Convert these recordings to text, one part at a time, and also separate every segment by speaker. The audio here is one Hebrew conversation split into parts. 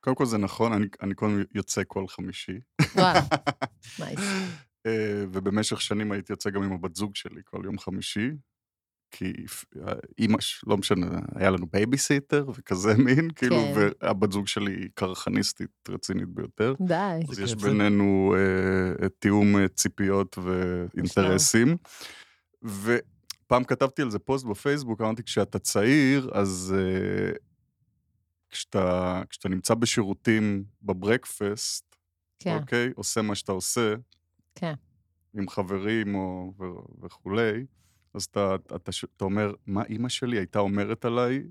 Speaker 1: קודם כל זה נכון, אני, אני קודם יוצא כל חמישי.
Speaker 2: וואו, נייס.
Speaker 1: אה, ובמשך שנים הייתי יוצא גם עם הבת זוג שלי כל יום חמישי, כי אה, אימא, ש- לא משנה, היה לנו בייביסיטר וכזה מין, כאילו,
Speaker 2: כן.
Speaker 1: והבת זוג שלי היא קרחניסטית רצינית ביותר.
Speaker 2: די.
Speaker 1: אז
Speaker 3: איזה
Speaker 1: יש
Speaker 3: כיף זה.
Speaker 1: בינינו אה, אה, תיאום אה, ציפיות ואינטרסים. ופעם כתבתי על זה פוסט בפייסבוק, אמרתי, כשאתה צעיר, אז אה, כשאתה, כשאתה נמצא בשירותים בברקפסט,
Speaker 2: כן,
Speaker 1: אוקיי? עושה מה שאתה עושה,
Speaker 2: כן.
Speaker 1: עם חברים או, ו, וכולי, אז אתה, אתה, ש- אתה אומר, מה אימא שלי הייתה אומרת עליי,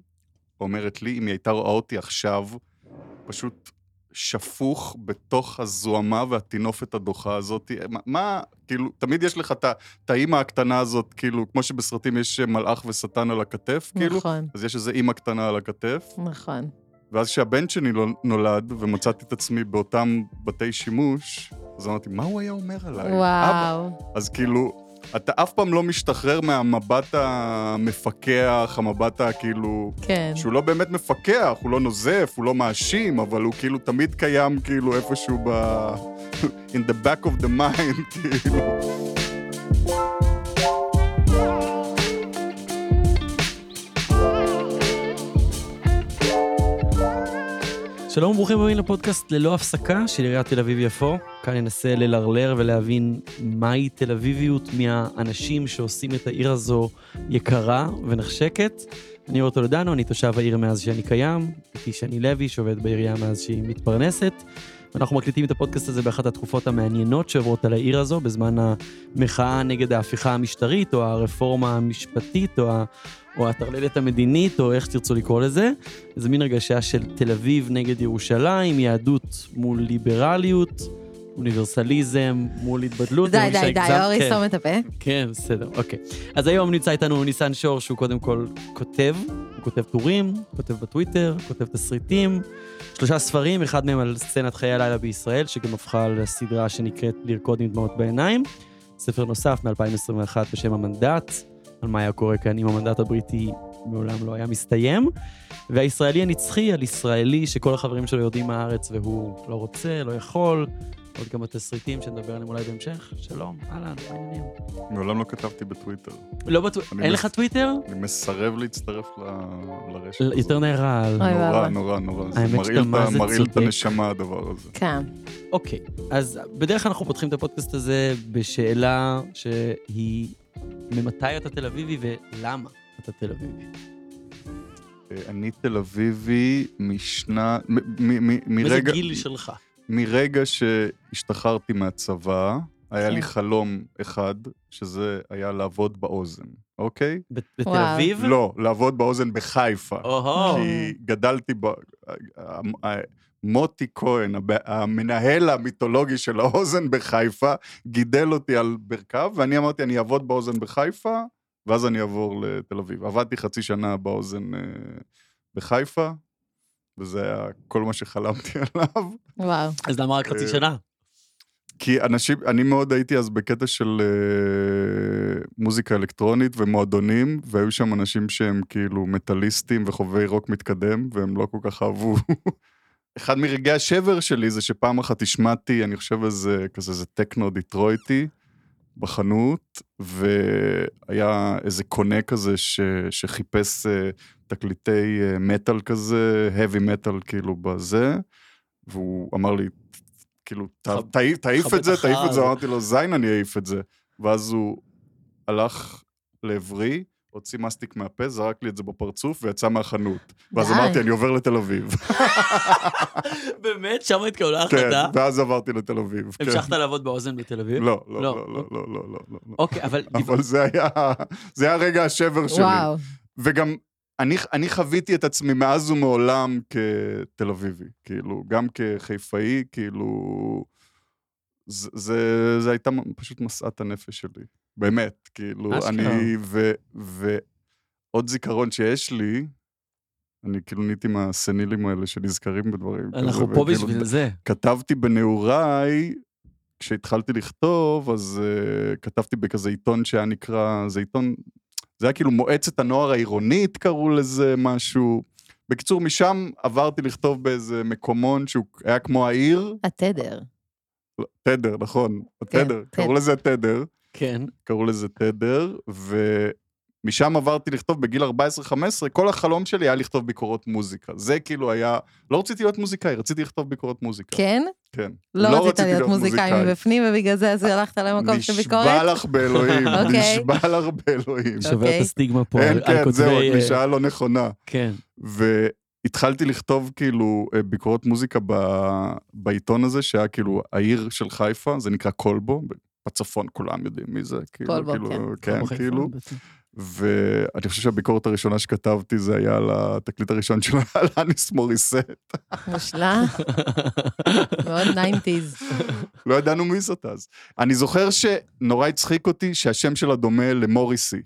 Speaker 1: אומרת לי, אם היא הייתה רואה אותי עכשיו, פשוט שפוך בתוך הזוהמה והטינופת הדוחה הזאת, מה, מה, כאילו, תמיד יש לך את ה- את האימא הקטנה הזאת, כאילו, כמו שבסרטים יש מלאך ושטן על הכתף, כאילו,
Speaker 2: נכון,
Speaker 1: אז יש איזו אימא קטנה על הכתף.
Speaker 2: נכון.
Speaker 1: ואז כשהבן שלי לא- נולד, ומצאתי את עצמי באותם בתי שימוש, אז אמרתי, מה הוא היה אומר עליי? אבא.
Speaker 2: וואו.
Speaker 1: אז כאילו, אתה אף פעם לא משתחרר מהמבט המפקח, המבט הכאילו...
Speaker 2: כן,
Speaker 1: שהוא לא באמת מפקח, הוא לא נוזף, הוא לא מאשים, אבל הוא כאילו תמיד קיים כאילו איפשהו ב... in the back of the mind, כאילו.
Speaker 3: שלום וברוכים הבאים לפודקאסט ללא הפסקה של עיריית תל אביב-יפו. כאן ננסה ללרלר ולהבין מהי תל אביביות מהאנשים שעושים את העיר הזו יקרה ונחשקת. אני אורטו לדנו, אני תושב העיר מאז שאני קיים, איתי שני לוי שעובד בעירייה מאז שהיא מתפרנסת. אנחנו מקליטים את הפודקאסט הזה באחת התקופות המעניינות שעוברות על העיר הזו, בזמן המחאה נגד ההפיכה המשטרית, או הרפורמה המשפטית, או, ה- או הטרללת המדינית, או איך שתרצו לקרוא לזה. איזה מין הרגשה של תל אביב נגד ירושלים, יהדות מול ליברליות, אוניברסליזם מול
Speaker 1: לא
Speaker 3: התבדלות.
Speaker 2: די,
Speaker 3: אני מרגיש
Speaker 2: די, די,
Speaker 3: שהגזמת.
Speaker 2: אורי
Speaker 3: כן.
Speaker 2: סום את הפה.
Speaker 3: כן, בסדר, אוקיי. אז היום נמצא איתנו ניסן שור, שהוא קודם כל כותב, הוא כותב טורים, כותב בטוויטר, כותב תסריטים, שלושה ספרים, אחד מהם על סצנת חיי הלילה בישראל, שגם הפכה לסדרה שנקראת לרקוד עם דמעות בעיניים. ספר נוסף מ-2021 בשם המנדט, על מה היה קורה כאן אם המנדט הבריטי מעולם לא היה מסתיים. והישראלי הנצחי על ישראלי שכל החברים שלו יודעים מהארץ והוא לא רוצה, לא יכול. עוד כמה תסריטים שנדבר עליהם אולי בהמשך. שלום, אהלן, מה העניינים?
Speaker 1: מעולם לא כתבתי בטוויטר.
Speaker 3: לא בטוויטר,
Speaker 1: אני
Speaker 3: אין
Speaker 1: מס-
Speaker 3: לך טוויטר?
Speaker 1: אני מסרב להצטרף ל- לרשת
Speaker 3: ל-
Speaker 1: הזאת.
Speaker 3: יותר נהרעל.
Speaker 2: אוי
Speaker 1: נורא,
Speaker 2: ואבוי.
Speaker 1: נורא, נורא. זה
Speaker 3: האמת
Speaker 1: מרעיל
Speaker 3: שאתה
Speaker 1: את
Speaker 3: מה
Speaker 1: ה-
Speaker 3: זה
Speaker 1: מרעיל את
Speaker 3: צודק.
Speaker 1: הנשמה, הדבר הזה.
Speaker 2: כן,
Speaker 3: אוקיי, אז בדרך כלל אנחנו פותחים את הפודקאסט הזה בשאלה שהיא, ממתי אתה תל אביבי ולמה אתה תל אביבי?
Speaker 1: אה, אני תל אביבי משנה... מ- מ- מ-
Speaker 3: וזה
Speaker 1: מרגע-
Speaker 3: גיל שלך.
Speaker 1: מרגע שהשתחררתי מהצבא, היה לי
Speaker 2: כן.
Speaker 1: חלום אחד, שזה היה לעבוד באוזן, אוקיי?
Speaker 3: ב- בתל
Speaker 2: וואו.
Speaker 3: אביב?
Speaker 1: לא, לעבוד באוזן בחיפה.
Speaker 3: או-הו.
Speaker 1: כי גדלתי ב... אה, מוטי כהן, הבע- המנהל המיתולוגי של האוזן בחיפה, גידל אותי על ברכיו, ואני אמרתי, אני אעבוד באוזן בחיפה, ואז אני אעבור לתל אביב. עבדתי חצי שנה באוזן אה, בחיפה, וזה היה כל מה שחלמתי עליו.
Speaker 2: וואו.
Speaker 3: אז למה רק חצי
Speaker 1: אה,
Speaker 3: שנה?
Speaker 1: כי אנשים, אני מאוד הייתי אז בקטע של אה, מוזיקה אלקטרונית ומועדונים, והיו שם אנשים שהם כאילו מטאליסטים וחובבי רוק מתקדם, והם לא כל כך אהבו. אחד מרגעי השבר שלי זה שפעם אחת השמעתי, אני חושב איזה, כזה איזה טכנו דיטרויטי בחנות, והיה איזה קונה כזה ש, שחיפש אה, תקליטי אה, מטאל כזה, heavy metal כאילו בזה, והוא אמר לי, כאילו, "ת-
Speaker 3: חב-
Speaker 1: תעיף- תעיף
Speaker 3: חבט
Speaker 1: את זה,
Speaker 3: אחריו."
Speaker 1: תעיף את זה, אמרתי לו, זין אני אעיף את זה. ואז הוא הלך לעברי, הוציא מסטיק מהפה, זרק לי את זה בפרצוף ויצא מהחנות. ואז
Speaker 2: די.
Speaker 1: אמרתי, אני עובר לתל אביב.
Speaker 3: באמת? שם התקבלה
Speaker 1: כן,
Speaker 3: ההחלטה?
Speaker 1: ואז עברתי לתל אביב. כן.
Speaker 3: המשכת לעבוד באוזן בתל אביב?
Speaker 1: לא, לא,
Speaker 3: לא,
Speaker 1: לא, לא, לא, לא, לא, לא.
Speaker 3: אוקיי, אבל...
Speaker 1: אבל זה היה, זה היה רגע השבר שלי.
Speaker 2: וואו,
Speaker 1: וגם אני, אני חוויתי את עצמי מאז ומעולם כתל אביבי, כאילו, גם כחיפאי, כאילו, זה, זה, זה הייתה פשוט משאת הנפש שלי, באמת, כאילו,
Speaker 3: אשכרה.
Speaker 1: אני, ו, ועוד זיכרון שיש לי, אני כאילו נהייתי מהסנילים האלה שנזכרים בדברים.
Speaker 3: אנחנו
Speaker 1: כזה,
Speaker 3: פה
Speaker 1: וכאילו,
Speaker 3: בשביל זה.
Speaker 1: כתבתי בנעוריי, כשהתחלתי לכתוב, אז uh, כתבתי בכזה עיתון שהיה נקרא, זה עיתון, זה היה כאילו מועצת הנוער העירונית קראו לזה משהו, בקיצור, משם עברתי לכתוב באיזה מקומון שהוא היה כמו העיר,
Speaker 2: התדר.
Speaker 1: לא, תדר, נכון,
Speaker 2: כן,
Speaker 1: התדר,
Speaker 2: תדר.
Speaker 1: קראו לזה תדר,
Speaker 3: כן.
Speaker 1: קראו לזה תדר, ומשם עברתי לכתוב בגיל 14-15, כל החלום שלי היה לכתוב ביקורות מוזיקה. זה כאילו היה, לא רציתי להיות מוזיקאי, רציתי לכתוב ביקורות מוזיקה.
Speaker 2: כן?
Speaker 1: כן.
Speaker 2: לא רצית להיות מוזיקאי מבפנים, ובגלל זה אז הלכת למקום של
Speaker 1: נשבע
Speaker 2: ביקורת?
Speaker 1: לך באלוהים,
Speaker 2: אוקיי.
Speaker 1: נשבע לך באלוהים.
Speaker 3: שובר
Speaker 2: אוקיי.
Speaker 3: את הסטיגמה פה
Speaker 1: אין,
Speaker 3: על על
Speaker 1: כן, זהו,
Speaker 3: כותבי...
Speaker 1: את
Speaker 3: אה,
Speaker 1: משעה לא נכונה.
Speaker 3: כן.
Speaker 1: והתחלתי לכתוב כאילו אה, ביקורות מוזיקה ב... בעיתון הזה, שהיה כאילו העיר של חיפה, זה נקרא קולבו, בצפון כולם יודעים מי זה. כאילו,
Speaker 2: קולבו,
Speaker 1: כאילו,
Speaker 2: כן.
Speaker 1: כן,
Speaker 3: בחיפה,
Speaker 1: כאילו.
Speaker 3: בטח.
Speaker 1: ואני חושב שהביקורת הראשונה שכתבתי זה היה על התקליט הראשון של אלניס מוריסט.
Speaker 2: מושלם, מאוד 90's.
Speaker 1: לא ידענו מי זאת אז. אני זוכר שנורא הצחיק אותי שהשם שלה דומה למוריסי.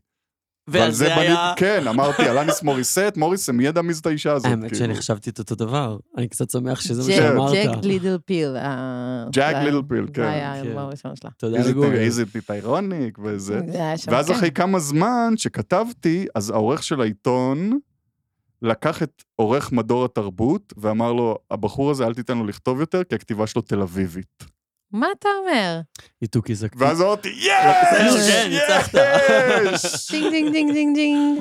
Speaker 1: ועל
Speaker 3: ועל זה
Speaker 1: בניתי-
Speaker 3: היה...
Speaker 1: כן, אמרתי, אלניס מוריסט, מוריסה, מי ידע מי זאת האישה הזאת?
Speaker 3: האמת
Speaker 1: כאילו.
Speaker 3: שאני חשבתי את אותו דבר. אני קצת שמח שזה מה
Speaker 1: ג'ק-
Speaker 2: ג'ק
Speaker 3: שאמרת.
Speaker 2: לידל פיל. אה,
Speaker 1: ג'ק ליל פיל,
Speaker 2: זה
Speaker 1: כן.
Speaker 2: היה
Speaker 3: כן.
Speaker 2: האלבום הראשון שלה.
Speaker 3: תודה
Speaker 1: איזה
Speaker 3: לגוגל.
Speaker 1: איזה טיט אירוניק וזה.
Speaker 2: זה היה שם,
Speaker 1: ואז
Speaker 2: כן.
Speaker 1: אחרי כמה זמן שכתבתי, אז העורך של העיתון לקח את עורך מדור התרבות ואמר לו, הבחור הזה, אל תיתן לו לכתוב יותר, כי הכתיבה שלו תל אביבית.
Speaker 2: מה אתה אומר?
Speaker 3: איתוקי זקתי.
Speaker 1: ואז אמרתי,
Speaker 3: בסדר,
Speaker 1: יש!
Speaker 3: כן, ניצחת."
Speaker 1: יש!
Speaker 2: דינג דינג דינג דינג דינג.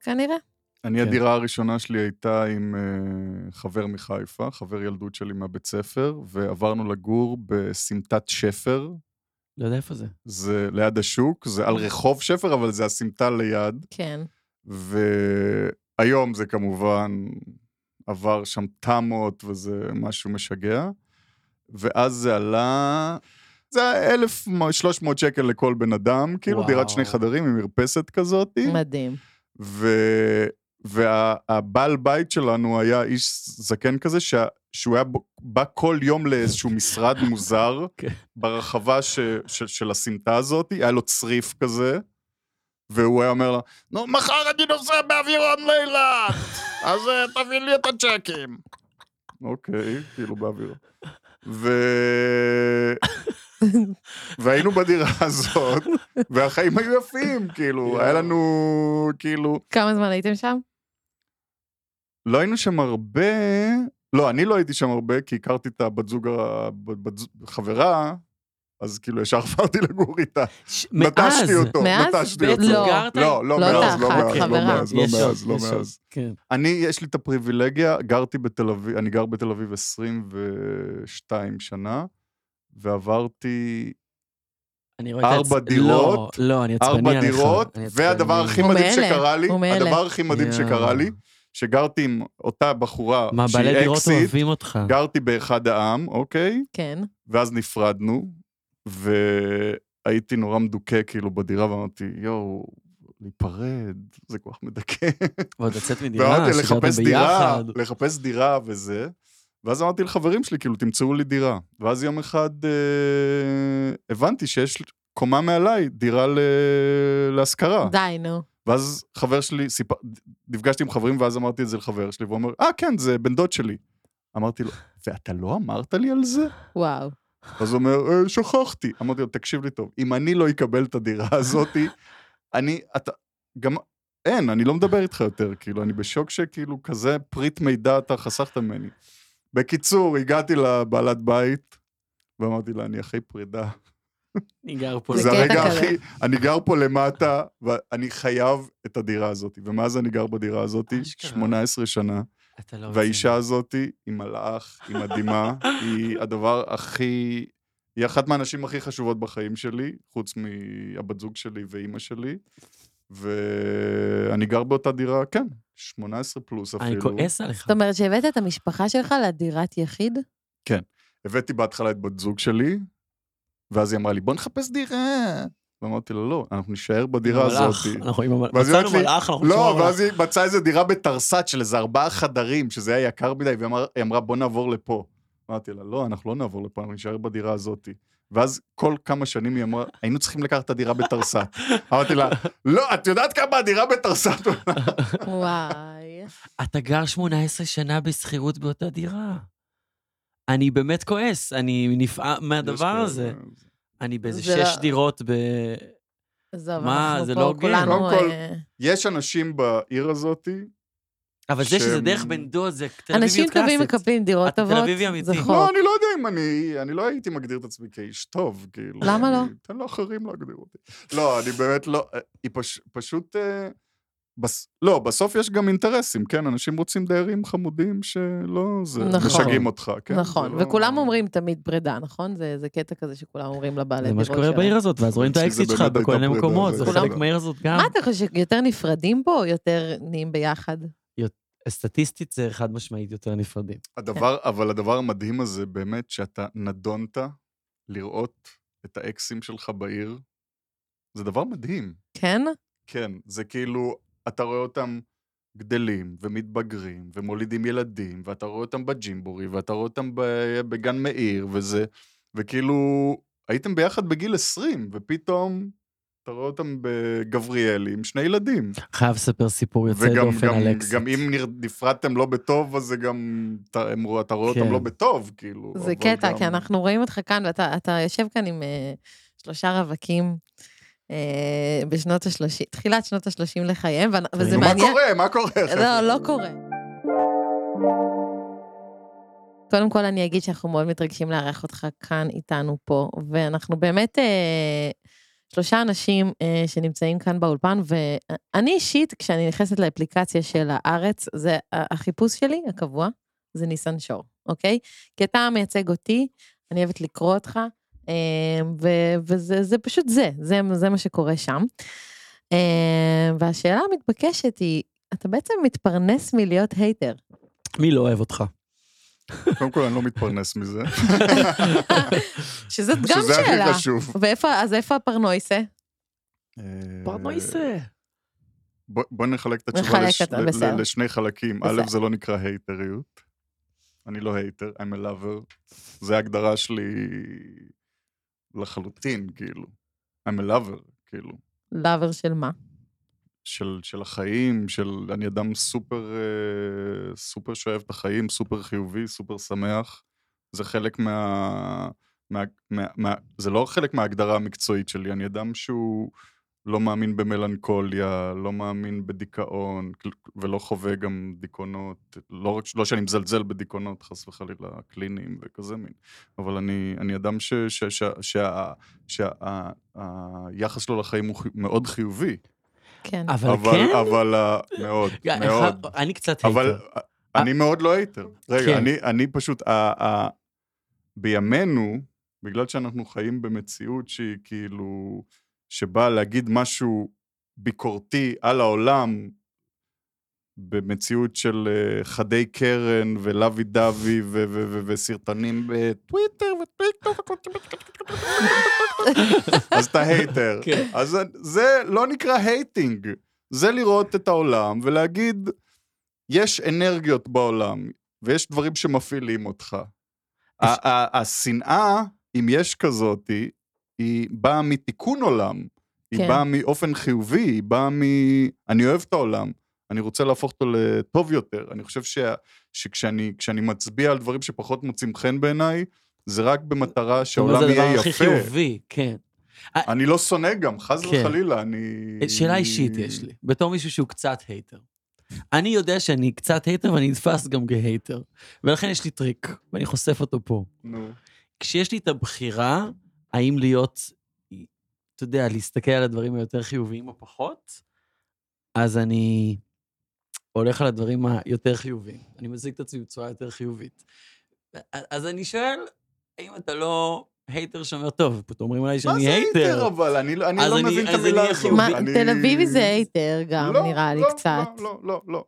Speaker 2: כנראה.
Speaker 1: אני,
Speaker 3: כן.
Speaker 1: הדירה הראשונה שלי הייתה עם אה, חבר מחיפה, חבר ילדות שלי מהבית ספר, ועברנו לגור בסמטת שפר,
Speaker 3: לא יודע איפה זה.
Speaker 1: זה ליד השוק, זה על רחוב שפר, אבל זה הסמטה ליד,
Speaker 2: כן.
Speaker 1: והיום זה כמובן עבר שם תמות וזה משהו משגע, ואז זה עלה... זה היה 1,300 שקל לכל בן אדם, כאילו
Speaker 3: וואו.
Speaker 1: דירת שני חדרים עם מרפסת כזאת.
Speaker 2: מדהים.
Speaker 1: ו... והבעל בית שלנו היה איש זקן כזה, שה... שהוא היה ב- בא כל יום לאיזשהו משרד מוזר
Speaker 3: כן.
Speaker 1: ברחבה ש... ש... של הסמטה הזאת, היה לו צריף כזה, והוא היה אומר לה, נו, מחר אני נוסע באווירון לאילת, אז אה, תביא לי את הצ'קים. אוקיי, כאילו באווירון. ו... והיינו בדירה הזאת, והחיים היו יפים, כאילו, היה לנו, כאילו,
Speaker 2: כמה זמן הייתם שם?
Speaker 1: לא היינו שם הרבה, לא, אני לא הייתי שם הרבה, כי הכרתי את הבת זוג, ה- בת- בת זוג- חברה, אז כאילו ישר עברתי לגור איתה.
Speaker 3: ש-
Speaker 1: נטשתי
Speaker 3: מאז.
Speaker 1: אותו,
Speaker 2: מאז?
Speaker 1: נטשתי
Speaker 3: בעצם
Speaker 1: אותו.
Speaker 2: לא.
Speaker 3: גרת-
Speaker 1: לא, לא
Speaker 2: לא
Speaker 1: מאז, לא
Speaker 2: אותה אחת,
Speaker 1: מאז, לא
Speaker 2: חברה.
Speaker 1: מאז, לא
Speaker 3: יש עוד,
Speaker 1: מאז, לא
Speaker 3: יש עוד,
Speaker 1: מאז.
Speaker 3: כן.
Speaker 1: אני, יש לי את הפריבילגיה, גרתי בתל אביב, אני גר בתל אביב 22 שנה, ועברתי
Speaker 3: אני רואה את
Speaker 1: ארבע
Speaker 3: העצ- לא,
Speaker 1: דירות,
Speaker 3: לא, אני עצבני עליך.
Speaker 1: ארבע דירות,
Speaker 3: אני עצבני.
Speaker 1: והדבר הכי
Speaker 2: הוא
Speaker 1: מדהים
Speaker 2: מאלה,
Speaker 1: שקרה לי,
Speaker 2: הוא מאלה.
Speaker 1: הדבר הכי מדהים
Speaker 3: יואו.
Speaker 1: שקרה לי, שגרתי עם אותה בחורה
Speaker 3: מה,
Speaker 1: שהיא
Speaker 3: בעלי דירות
Speaker 1: אקסיט,
Speaker 3: אוהבים אותך.
Speaker 1: גרתי באחד העם, אוקיי?
Speaker 2: כן.
Speaker 1: ואז נפרדנו, והייתי נורא מדוכא כאילו בדירה, ואמרתי, יואו, להיפרד, זה כל כך מדכא.
Speaker 3: ועוד לצאת מדירה,
Speaker 1: ואמרתי,
Speaker 3: שגרתם
Speaker 1: לחפש דירה,
Speaker 3: ביחד.
Speaker 1: לחפש דירה וזה. ואז אמרתי לחברים שלי, כאילו, תמצאו לי דירה. ואז יום אחד אה, הבנתי שיש קומה מעליי דירה ל... להשכרה.
Speaker 2: די, נו.
Speaker 1: ואז חבר שלי, סיפ... נפגשתי עם חברים ואז אמרתי את זה לחבר שלי, והוא אומר, אה, כן, זה בן דוד שלי. אמרתי לו, ואתה לא אמרת לי על זה?
Speaker 2: וואו.
Speaker 1: אז הוא אומר, אה, שכחתי. אמרתי לו, תקשיב לי טוב, אם אני לא אקבל את הדירה הזאת, אני, אתה, גם, אין, אני לא מדבר איתך יותר, כאילו, אני בשוק שכאילו כזה פריט מידע אתה חסכת ממני. בקיצור, הגעתי לבעלת בית, ואמרתי לה, אני אחרי פרידה.
Speaker 3: אני גר פה.
Speaker 1: זה
Speaker 2: קטע
Speaker 1: הרגע
Speaker 2: כזה.
Speaker 1: הכי, אני גר פה למטה, ואני חייב את הדירה הזאת. ומאז אני גר בדירה הזאת
Speaker 3: אשכרה.
Speaker 1: 18 שנה,
Speaker 3: אתה לא
Speaker 1: והאישה הזאת היא מלאך, היא מדהימה, היא הדבר הכי... היא אחת מהנשים הכי חשובות בחיים שלי, חוץ מהבת זוג שלי ואימא שלי. ואני גר באותה דירה, כן, 18 פלוס
Speaker 3: רציני. אני
Speaker 1: אפילו.
Speaker 3: כועס עליך.
Speaker 2: זאת אומרת שהבאת את המשפחה שלך לדירת יחיד?
Speaker 1: הבאתי בהתחלה את בת זוג שלי, ואז היא אמרה לי, בוא נחפש דירה. ואמרתי לה, לא, אנחנו נישאר בדירה
Speaker 3: מלאך,
Speaker 1: הזאת.
Speaker 3: אנחנו עם המלאך.
Speaker 1: ואז היא
Speaker 3: מצאנו
Speaker 1: אומרת לי,
Speaker 3: מלאך, אנחנו
Speaker 1: לא,
Speaker 3: חושבים
Speaker 1: ואז היא מצאה איזה דירה בתרסת של איזה ארבעה חדרים, שזה היה יקר מדי, והיא אמר- היא אמרה, בוא נעבור לפה. אמרתי לה, לא, אנחנו לא נעבור לפה, אנחנו נישאר בדירה הזאת. ואז כל כמה שנים היא אמרה, היינו צריכים לקחת את הדירה בתרסת. אמרתי לה, לא, את יודעת כמה הדירה בתרסת? עולה?"
Speaker 2: וואי.
Speaker 3: אתה גר 18 שנה בשכירות באותה דירה. אני באמת כועס, אני נפעם מהדבר הזה. אני באיזה
Speaker 2: זה לא-
Speaker 3: שש דירות ב...
Speaker 2: עזוב,
Speaker 3: מה,
Speaker 2: אנחנו
Speaker 3: זה
Speaker 2: פה
Speaker 3: לא הוגן.
Speaker 2: כולנו...
Speaker 1: קודם כל,
Speaker 2: אה,
Speaker 1: יש אנשים בעיר הזאתי,
Speaker 3: אבל זה שזה
Speaker 1: שהם-
Speaker 3: דרך בן דוד, זה תל
Speaker 2: אנשים
Speaker 3: אביביות
Speaker 2: טובים
Speaker 3: קלאסית.
Speaker 2: מקבלים דירות
Speaker 3: אתה תל
Speaker 2: טובות, נכון.
Speaker 3: אביבי אמיתי.
Speaker 2: זה
Speaker 3: לא,
Speaker 1: לא,
Speaker 2: חוק.
Speaker 1: אני לא יודע אם אני... אני לא הייתי מגדיר את עצמי כאיש טוב, כאילו.
Speaker 2: למה
Speaker 1: אני-
Speaker 2: לא?
Speaker 1: תן לאחרים להגדיר אותי. לא, אני באמת לא... היא פש, פשוט... אה, בס, לא, בסוף יש גם אינטרסים, כן? אנשים רוצים דיירים חמודים שלא... זה,
Speaker 2: נכון.
Speaker 1: משגעים אותך, כן?
Speaker 2: נכון,
Speaker 1: זה לא-
Speaker 2: וכולם אומרים תמיד פרידה, נכון? זה זה קטע כזה שכולם אומרים לבעלי
Speaker 3: זה
Speaker 2: דירות
Speaker 3: מה שקורה בעיר הזאת, ואז רואים את
Speaker 1: שזה
Speaker 3: האקזיט שלך
Speaker 1: באמת הייתה
Speaker 3: בכל מיני
Speaker 1: פרידה,
Speaker 3: מקומות,
Speaker 1: זה
Speaker 3: זה
Speaker 2: כולם-
Speaker 3: חלק מהעיר הזאת גם.
Speaker 2: מה אתה חושב, יותר נפרדים פה או יותר נהיים ביחד?
Speaker 3: סטטיסטית זה חד משמעית יותר נפרדים.
Speaker 1: הדבר,
Speaker 2: כן.
Speaker 1: אבל הדבר המדהים הזה באמת, שאתה נדונת לראות את האקסים שלך בעיר, זה דבר מדהים.
Speaker 2: כן?
Speaker 1: כן, זה כאילו, אתה רואה אותם גדלים ומתבגרים ומולידים ילדים, ואתה רואה אותם בג'ימבורי, ואתה רואה אותם ב- בגן מאיר, וזה, וכאילו, הייתם ביחד בגיל 20, ופתאום אתה רואה אותם בגבריאלי עם שני ילדים.
Speaker 3: חייב לספר סיפור יוצא
Speaker 1: וגם
Speaker 3: דופן
Speaker 1: גם,
Speaker 3: על אקזיט.
Speaker 1: גם אם נר- נפרדתם לא בטוב, אז זה גם, אתה, הם, רוא- אתה רואה
Speaker 3: כן.
Speaker 1: אותם לא בטוב, כאילו.
Speaker 2: זה
Speaker 1: אבל
Speaker 2: קטע,
Speaker 1: גם-
Speaker 2: כי אנחנו רואים אותך כאן, ואתה אתה יושב כאן עם אה, שלושה רווקים. אה, בשנות השלושים, תחילת שנות השלושים לחייהם, ואנ- וזה
Speaker 3: נו,
Speaker 1: מה
Speaker 2: מעניין.
Speaker 1: קורה? מה קורה?
Speaker 2: לא, לא קורה. קודם כל אני אגיד שאנחנו מאוד מתרגשים לארח אותך כאן איתנו פה, ואנחנו באמת אה, שלושה אנשים אה, שנמצאים כאן באולפן, ואני אישית, כשאני נכנסת לאפליקציה של הארץ, זה ה- החיפוש שלי הקבוע, זה ניסן שור, אוקיי? כי אתה מייצג אותי, אני אוהבת לקרוא אותך, אה, ו- וזה זה פשוט זה, זה, זה מה שקורה שם. אה, והשאלה המתבקשת היא, אתה בעצם מתפרנס מלהיות הייטר.
Speaker 3: מי לא אוהב אותך?
Speaker 1: אה, קודם כל, אני לא מתפרנס מזה.
Speaker 2: שזאת גם
Speaker 1: שזה
Speaker 2: שאלה.
Speaker 1: הכי חשוב.
Speaker 2: ואיפה, אז איפה הפרנויסה?
Speaker 3: אה,
Speaker 1: אה,
Speaker 3: פרנויסה.
Speaker 1: בוא, בוא נחלק את התשובה
Speaker 2: נחלק
Speaker 1: לש,
Speaker 2: אותה,
Speaker 1: ל,
Speaker 2: בסדר.
Speaker 1: ל, לשני חלקים. א',
Speaker 2: בסדר.
Speaker 1: זה לא נקרא הייטריות. אני לא הייטר, I'm a lover. זה ההגדרה שלי לחלוטין, כאילו. I'm a lover, כאילו.
Speaker 2: לאבר של מה?
Speaker 1: של, של החיים, של... אני אדם סופר, אה, סופר שאוהב את החיים, סופר חיובי, סופר שמח. זה חלק מה... מה, מה, מה זה לא חלק מההגדרה המקצועית שלי, אני אדם שהוא לא מאמין במלנכוליה, לא מאמין בדיכאון, כל- ולא חווה גם דיכאונות, לא, רק- לא שאני מזלזל בדיכאונות, חס וחלילה, קליניים וכזה מין, אבל אני, אני אדם שהיחס ש, ש, ש, ש, ה- ה- היחס שלו לחיים הוא חי- מאוד חיובי.
Speaker 2: כן.
Speaker 3: אבל
Speaker 1: אבל,
Speaker 3: כן,
Speaker 1: אבל, ה- מאוד,
Speaker 3: ג-
Speaker 1: מאוד.
Speaker 3: אחד- אני קצת
Speaker 1: אבל
Speaker 3: הייטר.
Speaker 1: אני מאוד לא הייטר.
Speaker 3: כן.
Speaker 1: רגע, אני- אני פשוט, ה- ה- בימינו, בגלל שאנחנו חיים במציאות שהיא כאילו, שבאה להגיד משהו ביקורתי על העולם, במציאות של אה, חדי קרן ולאבי דבי ו- ו- ו- וסרטונים בטוויטר וטוויטר אז אתה הייטר.
Speaker 3: כן.
Speaker 1: אז זה- זה לא נקרא הייטינג, זה לראות את העולם ולהגיד, יש אנרגיות בעולם ויש דברים שמפעילים אותך. ה- ה- השנאה, אם יש כזאת, היא- היא באה מתיקון עולם,
Speaker 2: כן.
Speaker 1: היא באה מאופן חיובי, היא באה מ... אני אוהב את העולם, אני רוצה להפוך אותו לטוב יותר. אני חושב שה- שכשאני כשאני מצביע על דברים שפחות מוצאים חן בעיניי, זה רק במטרה
Speaker 3: זאת
Speaker 1: שהעולם
Speaker 3: אומרת,
Speaker 1: יהיה
Speaker 3: זה הדבר הכי
Speaker 1: יפה.
Speaker 3: חיובי, כן.
Speaker 1: אני לא שונא גם, חס
Speaker 3: כן.
Speaker 1: וחלילה, אני...
Speaker 3: שאלה אישית יש
Speaker 1: אה.
Speaker 3: לי, בתור מישהו שהוא קצת הייטר. אני יודע שאני קצת הייטר ואני נתפס גם כהייטר, ולכן יש לי טריק, ואני חושף אותו פה.
Speaker 1: נו.
Speaker 3: כשיש לי את הבחירה, האם להיות, אתה יודע, להסתכל על הדברים היותר חיוביים או פחות, אז אני הולך על הדברים היותר חיוביים. אני מציג את עצמי בצורה יותר חיובית. אז אני שואל, האם אתה לא הייטר שאומר, טוב, פתאום אומרים עליי
Speaker 1: מה
Speaker 3: שאני
Speaker 1: זה הייטר
Speaker 3: הייטר.
Speaker 1: אבל? אני לא אני
Speaker 3: אז
Speaker 1: לא
Speaker 3: אני-
Speaker 1: מבין את
Speaker 3: אז אני
Speaker 1: המילה
Speaker 3: אהיה
Speaker 1: הזאת.
Speaker 3: חיובי.
Speaker 2: מה,
Speaker 1: אני-
Speaker 2: תל אביבי זה הייטר גם,
Speaker 1: לא,
Speaker 2: נראה לי
Speaker 1: לא,
Speaker 2: קצת.
Speaker 1: לא, לא, לא, לא.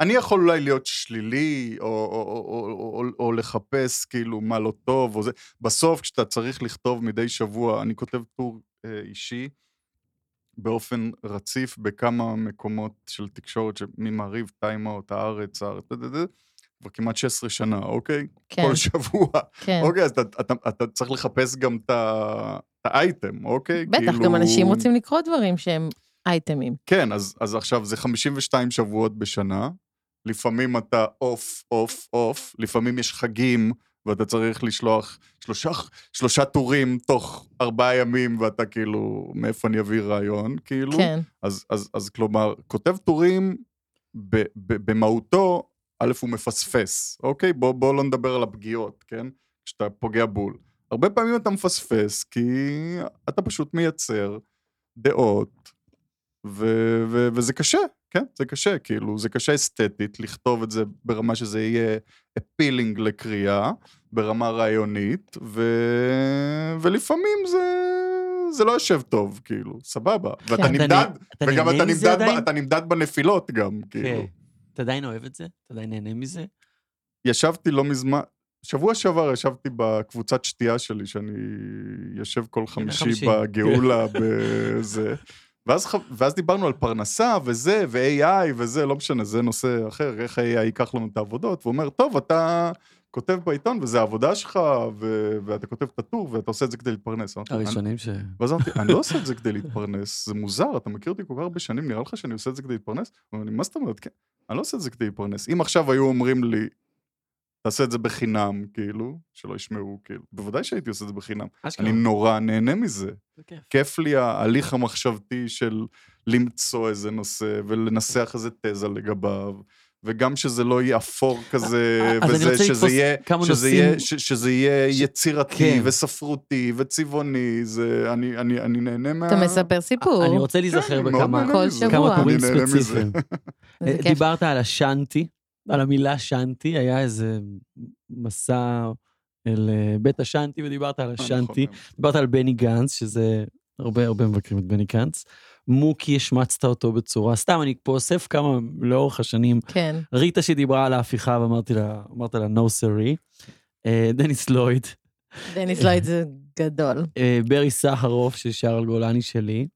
Speaker 1: אני יכול אולי להיות שלילי, או, או, או, או, או, או לחפש כאילו מה לא טוב, או זה. בסוף, כשאתה צריך לכתוב מדי שבוע, אני כותב טור אה, אישי באופן רציף בכמה מקומות של תקשורת, ש- ממעריב, טיימאוט, הארץ, הארץ, דה, דה, דה, כבר כמעט 16 שנה, אוקיי?
Speaker 2: כן,
Speaker 1: כל שבוע.
Speaker 2: כן.
Speaker 1: אוקיי, אז אתה, אתה, אתה צריך לחפש גם את ה- את האייטם, אוקיי?
Speaker 2: בטח, גם אנשים רוצים לקרוא דברים שהם אייטמים.
Speaker 1: כן, אז, אז עכשיו זה 52 שבועות בשנה, לפעמים אתה אוף, אוף, אוף, לפעמים יש חגים, ואתה צריך לשלוח שלושה, שלושה טורים תוך ארבעה ימים, ואתה כאילו, מאיפה אני אביא רעיון, כאילו.
Speaker 2: כן.
Speaker 1: אז, אז, אז כלומר, כותב טורים ב, ב, במהותו, א', הוא מפספס, אוקיי? בוא, בוא לא נדבר על הפגיעות, כן? כשאתה פוגע בול. הרבה פעמים אתה מפספס, כי אתה פשוט מייצר דעות, ו, ו, וזה קשה, כן? זה קשה, כאילו, זה קשה אסתטית לכתוב את זה ברמה שזה יהיה אפילינג לקריאה, ברמה רעיונית, ו, ולפעמים זה... זה לא יושב טוב, כאילו, סבבה.
Speaker 3: כן,
Speaker 1: ואתה
Speaker 2: אתה
Speaker 1: נמדד, וגם
Speaker 3: נהנה
Speaker 1: אתה
Speaker 3: מזה
Speaker 1: נמדד,
Speaker 3: עדיין?
Speaker 1: ב, אתה נמדד בנפילות גם, כאילו.
Speaker 3: כן. אתה עדיין אוהב את זה? אתה עדיין נהנה מזה?
Speaker 1: ישבתי לא מזמן, שבוע שעבר ישבתי בקבוצת שתייה שלי, שאני יושב כל חמישי
Speaker 3: כן, חמישי. כן.
Speaker 1: בגאולה בזה. ואז, ח- ואז דיברנו על פרנסה וזה, ו-AI וזה, לא משנה, זה נושא אחר, איך ה-AI ייקח לנו את העבודות. והוא אומר, טוב, אתה כותב בעיתון, וזו העבודה שלך, ו- ואתה כותב את הטור, ואתה עושה את זה כדי להתפרנס. אמרתי לו, "אני-
Speaker 3: הראשונים ש...
Speaker 1: ואז אמרתי, אני לא עושה את זה כדי להתפרנס, זה מוזר, אתה מכיר אותי כל כך הרבה שנים, נראה לך שאני עושה את זה כדי להתפרנס? הוא אומר לי, מה זאת אומרת? כן, אני לא עושה את זה כדי להתפרנס. אם עכשיו היו אומרים לי, תעשה את זה בחינם, כאילו, שלא ישמעו, כאילו, בוודאי שהייתי עושה את זה בחינם.
Speaker 3: אשכרה.
Speaker 1: אני נורא נהנה מזה.
Speaker 3: זה כיף.
Speaker 1: כיף לי ההליך המחשבתי של למצוא איזה נושא ולנסח איזה תזה לגביו. וגם שזה לא יהיה אפור כזה,
Speaker 3: אז אני
Speaker 1: וזה,
Speaker 3: רוצה
Speaker 1: שזה
Speaker 3: לתפוס
Speaker 1: יהיה,
Speaker 3: כמה
Speaker 1: שזה
Speaker 3: נושאים-
Speaker 1: יהיה, ש, שזה יהיה
Speaker 3: ש-
Speaker 1: יצירתי
Speaker 3: כן.
Speaker 1: וספרותי וצבעוני, זה, אני, אני, אני נהנה מה...
Speaker 2: אתה מספר סיפור.
Speaker 3: אני רוצה להיזכר
Speaker 1: כן, אני מאוד
Speaker 3: בכמה
Speaker 1: נהנה
Speaker 2: כל
Speaker 1: מזה.
Speaker 2: שבוע.
Speaker 3: כמה טורים
Speaker 1: אני נהנה מזה.
Speaker 3: ספציפיים. אה,
Speaker 2: זה כיף.
Speaker 3: דיברת על השאנטי, על המילה שאנטי, היה איזה מסע אל אה, בית השאנטי ודיברת על
Speaker 1: אה, נכון,
Speaker 3: השאנטי.
Speaker 1: נכון.
Speaker 3: דיברת על בני גנץ, שזה הרבה הרבה מבקרים את בני גנץ. מוקי, השמצת אותו בצורה, סתם, אני פה אוסף כמה לאורך השנים.
Speaker 2: כן.
Speaker 3: ריטה שדיברה על ההפיכה ואמרתי לה, אמרת לה, no sorry. אה, דניס לויד,
Speaker 2: דניס לויד זה גדול.
Speaker 3: אה, ברי סחרוף של שרל גולני שלי.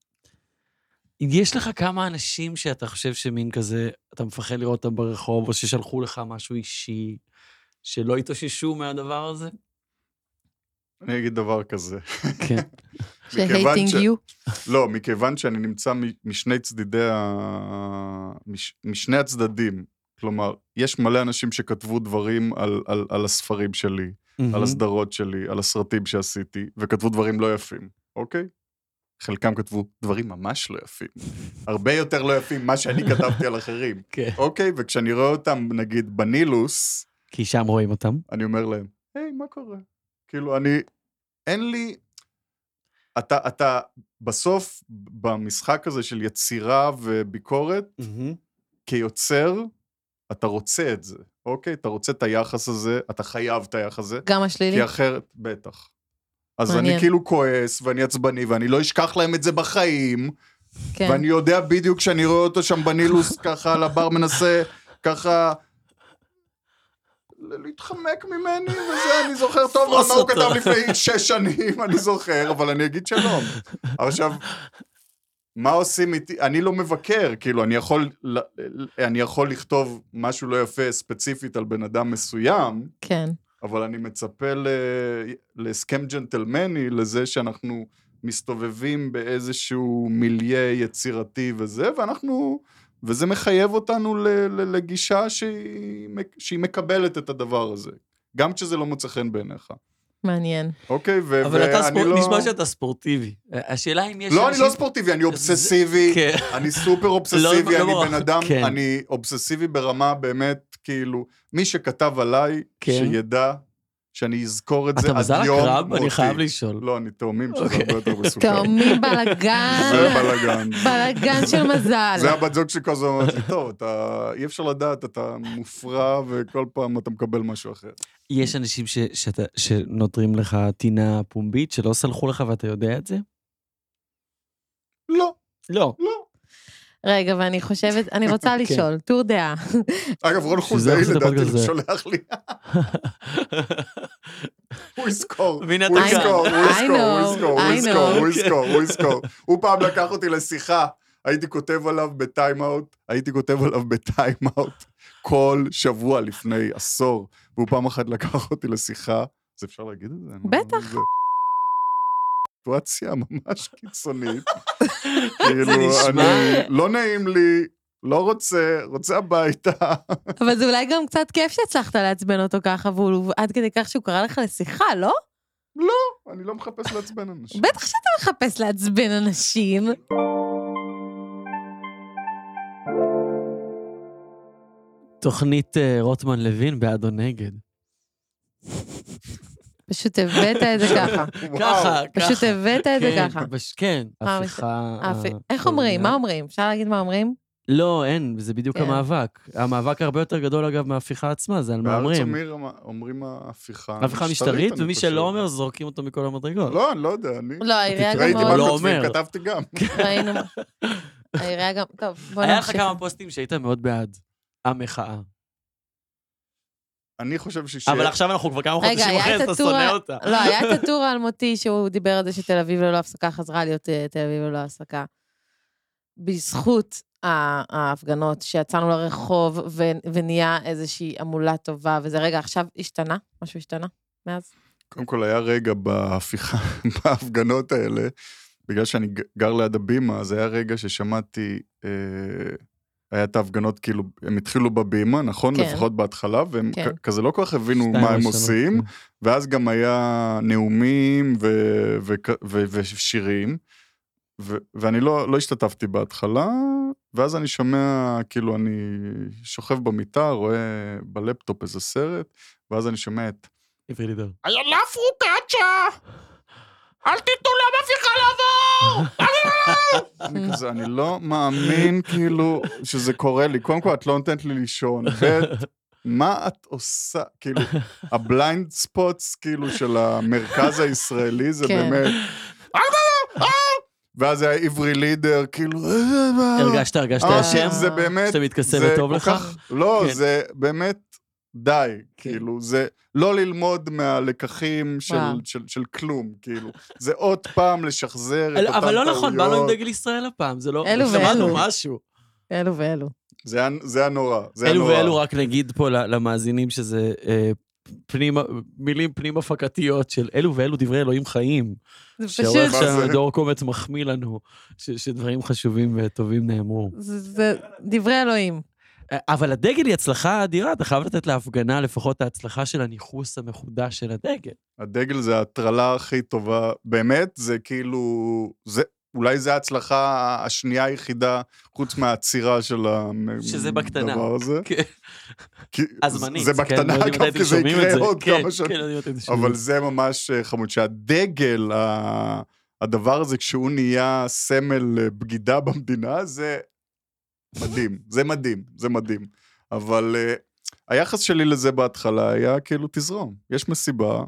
Speaker 3: יש לך כמה אנשים שאתה חושב שמין כזה, אתה מפחד לראות אותם ברחוב, או ששלחו לך משהו אישי, שלא התאוששו מהדבר הזה?
Speaker 1: אני אגיד דבר כזה.
Speaker 3: כן.
Speaker 2: שהייטינג
Speaker 1: ש-
Speaker 2: יו.
Speaker 1: לא, מכיוון שאני נמצא מ- משני צדדי ה... מש... משני הצדדים. כלומר, יש מלא אנשים שכתבו דברים על, על, על הספרים שלי, על הסדרות שלי, על הסרטים שעשיתי, וכתבו דברים לא יפים, אוקיי? חלקם כתבו דברים ממש לא יפים. הרבה יותר לא יפים ממה שאני כתבתי על אחרים,
Speaker 3: כן.
Speaker 1: אוקיי? וכשאני רואה אותם, נגיד, בנילוס,
Speaker 3: כי שם רואים אותם.
Speaker 1: אני אומר להם, היי, מה קורה? כאילו, אני, אין לי... אתה, אתה בסוף, במשחק הזה של יצירה וביקורת, כיוצר, אתה רוצה את זה, אוקיי? אתה רוצה את היחס הזה, אתה חייב את היחס הזה,
Speaker 2: גם השלילי.
Speaker 1: כי אחרת, בטח. אז
Speaker 2: מעניין.
Speaker 1: אני כאילו כועס, ואני עצבני, ואני לא אשכח להם את זה בחיים,
Speaker 2: כן.
Speaker 1: ואני יודע בדיוק שאני רואה אותו שם בנילוס, ככה על הבר מנסה, ככה... ל- להתחמק ממני, וזה, אני זוכר טוב מאוד מה הוא
Speaker 3: תפוס אותו.
Speaker 1: כתב לפני שש שנים, אני זוכר, אבל אני אגיד שלום. עכשיו, מה עושים איתי? אני לא מבקר, כאילו, אני יכול, ל- ל- אני יכול לכתוב משהו לא יפה ספציפית על בן אדם מסוים,
Speaker 2: כן.
Speaker 1: אבל אני מצפה ל... להסכם ג'נטלמני, לזה שאנחנו מסתובבים באיזשהו מיליה יצירתי וזה, ואנחנו... וזה מחייב אותנו ל... ל... לגישה שהיא... מק- שהיא מקבלת את הדבר הזה. גם כשזה לא מוצא חן בעיניך,
Speaker 2: מעניין.
Speaker 1: אוקיי? ו...
Speaker 3: אבל אתה
Speaker 1: ואני
Speaker 3: ספורט,
Speaker 1: לא...
Speaker 3: נשמע שאתה ספורטיבי. השאלה אם יש
Speaker 1: לא, אני לא
Speaker 3: אנשים-
Speaker 1: ספורטיבי, אני אובססיבי,
Speaker 3: כן.
Speaker 1: אני סופר אובססיבי,
Speaker 3: לא
Speaker 1: אני
Speaker 3: מוח,
Speaker 1: בן אדם,
Speaker 3: כן.
Speaker 1: אני אובססיבי ברמה באמת, כאילו, מי שכתב עליי,
Speaker 3: כן.
Speaker 1: שידע שאני אזכור את זה
Speaker 3: אתה
Speaker 1: עד
Speaker 3: מזל
Speaker 1: יום
Speaker 3: הקרב? אני
Speaker 1: מותי.
Speaker 3: חייב לשאול.
Speaker 1: לא, אני תאומים, שזה
Speaker 3: אוקיי.
Speaker 1: הרבה יותר מסוכן.
Speaker 2: תאומים בלאגן.
Speaker 1: זה בלאגן.
Speaker 2: בלאגן של
Speaker 1: זה
Speaker 2: מזל.
Speaker 1: הבת זוג שלי כל הזמן אומרת לי, טוב, אתה, אי אפשר לדעת, אתה מופרע, וכל פעם אתה מקבל משהו אחר.
Speaker 3: יש אנשים ש- שאתה- שנותרים לך טינה פומבית, שלא סלחו לך ואתה יודע את זה?
Speaker 1: לא,
Speaker 3: לא.
Speaker 1: לא.
Speaker 2: רגע, ואני חושבת, אני רוצה
Speaker 3: כן.
Speaker 2: לשאול, טור דעה.
Speaker 1: אגב, רון
Speaker 3: שזה
Speaker 1: חולדאי
Speaker 3: עושה את
Speaker 1: לדעתי
Speaker 3: הפודקאסט הזה.
Speaker 1: שולח לי, הוא יזכור, הוא
Speaker 3: והנה
Speaker 1: יזכור,
Speaker 3: אתה כאן.
Speaker 1: הוא
Speaker 2: I
Speaker 1: יזכור, הוא
Speaker 2: know,
Speaker 1: יזכור, הוא
Speaker 2: I
Speaker 1: יזכור,
Speaker 2: know.
Speaker 1: הוא יזכור, הוא יזכור. הוא פעם לקח אותי לשיחה, הייתי כותב עליו בטיימאוט, הייתי כותב עליו בטיימאוט כל שבוע לפני עשור, והוא פעם אחת לקח אותי לשיחה, אז אפשר להגיד את זה? אני לא-
Speaker 2: בטח.
Speaker 1: זה- סיטואציה ממש קיצונית.
Speaker 3: זה
Speaker 1: כאילו,
Speaker 3: נשמע-
Speaker 1: אני, לא נעים לי לא רוצה, רוצה הביתה.
Speaker 2: אבל זה אולי גם קצת כיף שהצלחת לעצבן אותו ככה, והוא עד כדי כך שהוא קרא לך לשיחה, לא?
Speaker 1: אני לא מחפש לעצבן אנשים.
Speaker 2: בטח שאתה מחפש לעצבן אנשים.
Speaker 3: תוכנית אה, רוטמן לוין בעד או נגד.
Speaker 2: פשוט הבאת את זה ככה.
Speaker 1: וואו.
Speaker 3: ככה, ככה.
Speaker 2: פשוט הבאת את זה
Speaker 3: כן,
Speaker 2: ככה.
Speaker 3: בש- כן,
Speaker 2: פעם
Speaker 3: הפיכה.
Speaker 2: אפי- איך אומרים? מה אומרים? אפשר להגיד מה אומרים?
Speaker 3: לא, אין, זה בדיוק
Speaker 2: כן.
Speaker 3: המאבק. המאבק הרבה יותר גדול, אגב, מההפיכה עצמה, זה על מה
Speaker 1: בארץ
Speaker 3: אומרים.
Speaker 1: אומרים- אומרים ההפיכה
Speaker 3: הפיכה משטרית,
Speaker 1: אני
Speaker 3: ומי
Speaker 1: חושב.
Speaker 3: שלא אומר, זורקים אותו מכל המדרגות.
Speaker 1: לא, אני לא יודע, אני...
Speaker 2: לא, העירייה גם
Speaker 1: ראיתי מה
Speaker 3: לא
Speaker 2: מאוד...
Speaker 1: כותבים,
Speaker 3: אומר. כן.
Speaker 1: כתבתי גם.
Speaker 2: ראינו. העירייה גם... טוב, בוא
Speaker 3: היה לך
Speaker 2: נמשיך.
Speaker 3: כמה פוסטים שהיית מאוד בעד המחאה.
Speaker 1: אני חושב שש...
Speaker 3: אבל עכשיו אנחנו כבר כמה
Speaker 2: רגע,
Speaker 3: חודשים
Speaker 2: היה
Speaker 3: אחרי,
Speaker 2: את
Speaker 3: אז אתה
Speaker 2: הטור
Speaker 3: שונא
Speaker 2: ה-
Speaker 3: אותה.
Speaker 2: לא, היה את הטור האלמותי שהוא דיבר על זה שתל אביב ללא הפסקה חזרה להיות אה, תל אביב ללא הפסקה. בזכות ה- ההפגנות שיצאנו לרחוב ו- ונהיה איזושהי המולה טובה, וזה רגע, עכשיו השתנה? משהו השתנה מאז?
Speaker 1: קודם כל, היה רגע בהפיכה, בהפגנות האלה, בגלל שאני ג- גר ליד הבימה, אז היה רגע ששמעתי, אה, היה את ההפגנות, כאילו, הם התחילו בבימה, נכון?
Speaker 2: כן.
Speaker 1: לפחות בהתחלה, והם
Speaker 2: כן.
Speaker 1: כ- כזה לא כל כך הבינו
Speaker 3: שתיים
Speaker 1: מה
Speaker 3: או
Speaker 1: הם
Speaker 3: שלוש,
Speaker 1: עושים,
Speaker 3: כן.
Speaker 1: ואז גם היה נאומים ו- וכ- ו- ושירים, ו- ואני לא, לא השתתפתי בהתחלה, ואז אני שומע, כאילו, אני שוכב במיטה, רואה בלפטופ איזה סרט, ואז אני שומע את
Speaker 3: עברי לידור.
Speaker 1: איילה פרוקצ'ה! אל תיתנו למפיכה לעבור! אני כזה, אני לא מאמין כאילו שזה קורה לי. קודם כל, את לא נותנת לי לישון. ב', מה את עושה? כאילו, הבליינד ספוטס כאילו של המרכז הישראלי זה
Speaker 2: כן.
Speaker 1: באמת... "אה, ואז היה עברי לידר, כאילו...
Speaker 3: הרגשת, הרגשת
Speaker 1: אה,
Speaker 3: אשם?
Speaker 1: זה באמת...
Speaker 3: שאתה מתכסה
Speaker 1: זה
Speaker 3: וטוב
Speaker 1: כל
Speaker 3: לך?
Speaker 1: כך- לא,
Speaker 3: כן.
Speaker 1: זה באמת, די, כאילו, זה לא ללמוד מהלקחים של-
Speaker 2: וואו.
Speaker 1: של של כלום, כאילו. זה עוד פעם לשחזר את אותן
Speaker 3: אבל לא נכון, באנו עם
Speaker 1: טעויות.
Speaker 3: דגל ישראל הפעם, זה לא...
Speaker 2: אלו
Speaker 3: שמענו
Speaker 2: ואלו.
Speaker 3: משהו.
Speaker 2: אלו ואלו.
Speaker 1: זה היה- זה היה נורא, זה היה
Speaker 3: אלו
Speaker 1: נורא.
Speaker 3: ואלו רק נגיד פה ל- למאזינים שזה אה, פנימה- מילים פנים הפקתיות של אלו ואלו דברי אלוהים חיים.
Speaker 2: זה
Speaker 3: שהעורך
Speaker 2: פשוט...
Speaker 1: מה זה?
Speaker 3: שלנו, דור קומץ, מחמיא לנו ש- שדברים חשובים וטובים נאמרו.
Speaker 2: זה זה דברי אלוהים.
Speaker 3: אה, אבל הדגל היא הצלחה אדירה, אתה חייב לתת להפגנה לפחות ההצלחה של הניכוס המחודש של הדגל.
Speaker 1: הדגל זה ההטרלה הכי טובה, באמת, זה כאילו, זה... אולי זו ההצלחה השנייה היחידה, חוץ מהעצירה של המ-
Speaker 3: שזה בקטנה.
Speaker 1: הדבר הזה.
Speaker 3: כן.
Speaker 1: כי-
Speaker 3: הזמנית.
Speaker 1: זה
Speaker 3: כן, לא
Speaker 1: בקטנה,
Speaker 3: יודעים מתי
Speaker 1: גם
Speaker 3: אתם
Speaker 1: כי זה
Speaker 3: שומעים את
Speaker 1: יקרה עוד
Speaker 3: כן,
Speaker 1: כמה שנים.
Speaker 3: כן, לא יודעים מתי אתם שומעים.
Speaker 1: אבל זה ממש אה, חמוד, שהדגל, ה- הדבר הזה, כשהוא נהיה סמל אה, בגידה במדינה, זה מדהים, זה מדהים, זה מדהים. אבל אה, היחס שלי לזה בהתחלה היה כאילו, תזרום, יש מסיבה,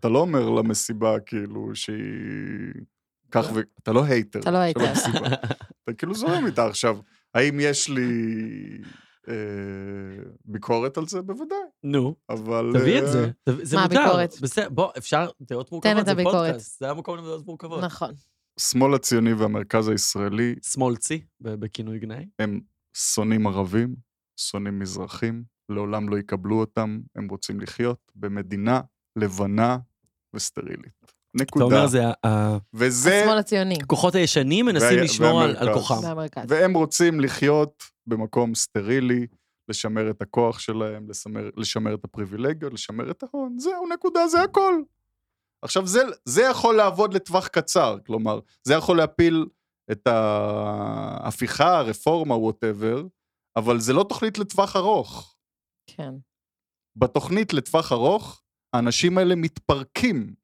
Speaker 1: אתה לא אומר למסיבה כאילו שהיא... כך ו... אתה לא הייטר.
Speaker 2: אתה לא
Speaker 1: של
Speaker 2: הייטר.
Speaker 1: המסיבה. אתה כאילו זורם איתה עכשיו. האם יש לי אה, ביקורת על זה? בוודאי,
Speaker 3: נו,
Speaker 1: אבל...
Speaker 3: תביא את
Speaker 1: אה,
Speaker 3: זה. תביא- זה
Speaker 2: מה
Speaker 3: מותר.
Speaker 2: הביקורת?
Speaker 3: בסדר, בוא, אפשר, דעות מורכבות
Speaker 2: את
Speaker 3: זה
Speaker 2: הביקורת.
Speaker 3: פודקאסט. זה המקום לדעות מורכבות.
Speaker 2: נכון.
Speaker 1: השמאל הציוני והמרכז הישראלי
Speaker 3: שמאלצי, ב- בכינוי גנאי.
Speaker 1: הם שונאים ערבים, שונאים מזרחים, לעולם לא יקבלו אותם, הם רוצים לחיות במדינה לבנה וסטרילית.
Speaker 3: אתה
Speaker 1: נקודה.
Speaker 3: אומר, זה ה- ה-
Speaker 1: וזה,
Speaker 2: השמאל הציוני.
Speaker 3: הכוחות הישנים מנסים
Speaker 1: וה-
Speaker 3: לשמור על- על
Speaker 1: והמרכז.
Speaker 3: כוחם.
Speaker 2: במרכז.
Speaker 1: והם רוצים לחיות במקום סטרילי, לשמר את הכוח שלהם, לשמר, לשמר את הפריבילגיות, לשמר את ההון, זהו, נקודה, זה הכל. עכשיו, זה, זה יכול לעבוד לטווח קצר, כלומר, זה יכול להפיל את ההפיכה, הרפורמה, וואטאבר, אבל זה לא תוכנית לטווח ארוך.
Speaker 2: כן.
Speaker 1: בתוכנית לטווח ארוך, האנשים האלה מתפרקים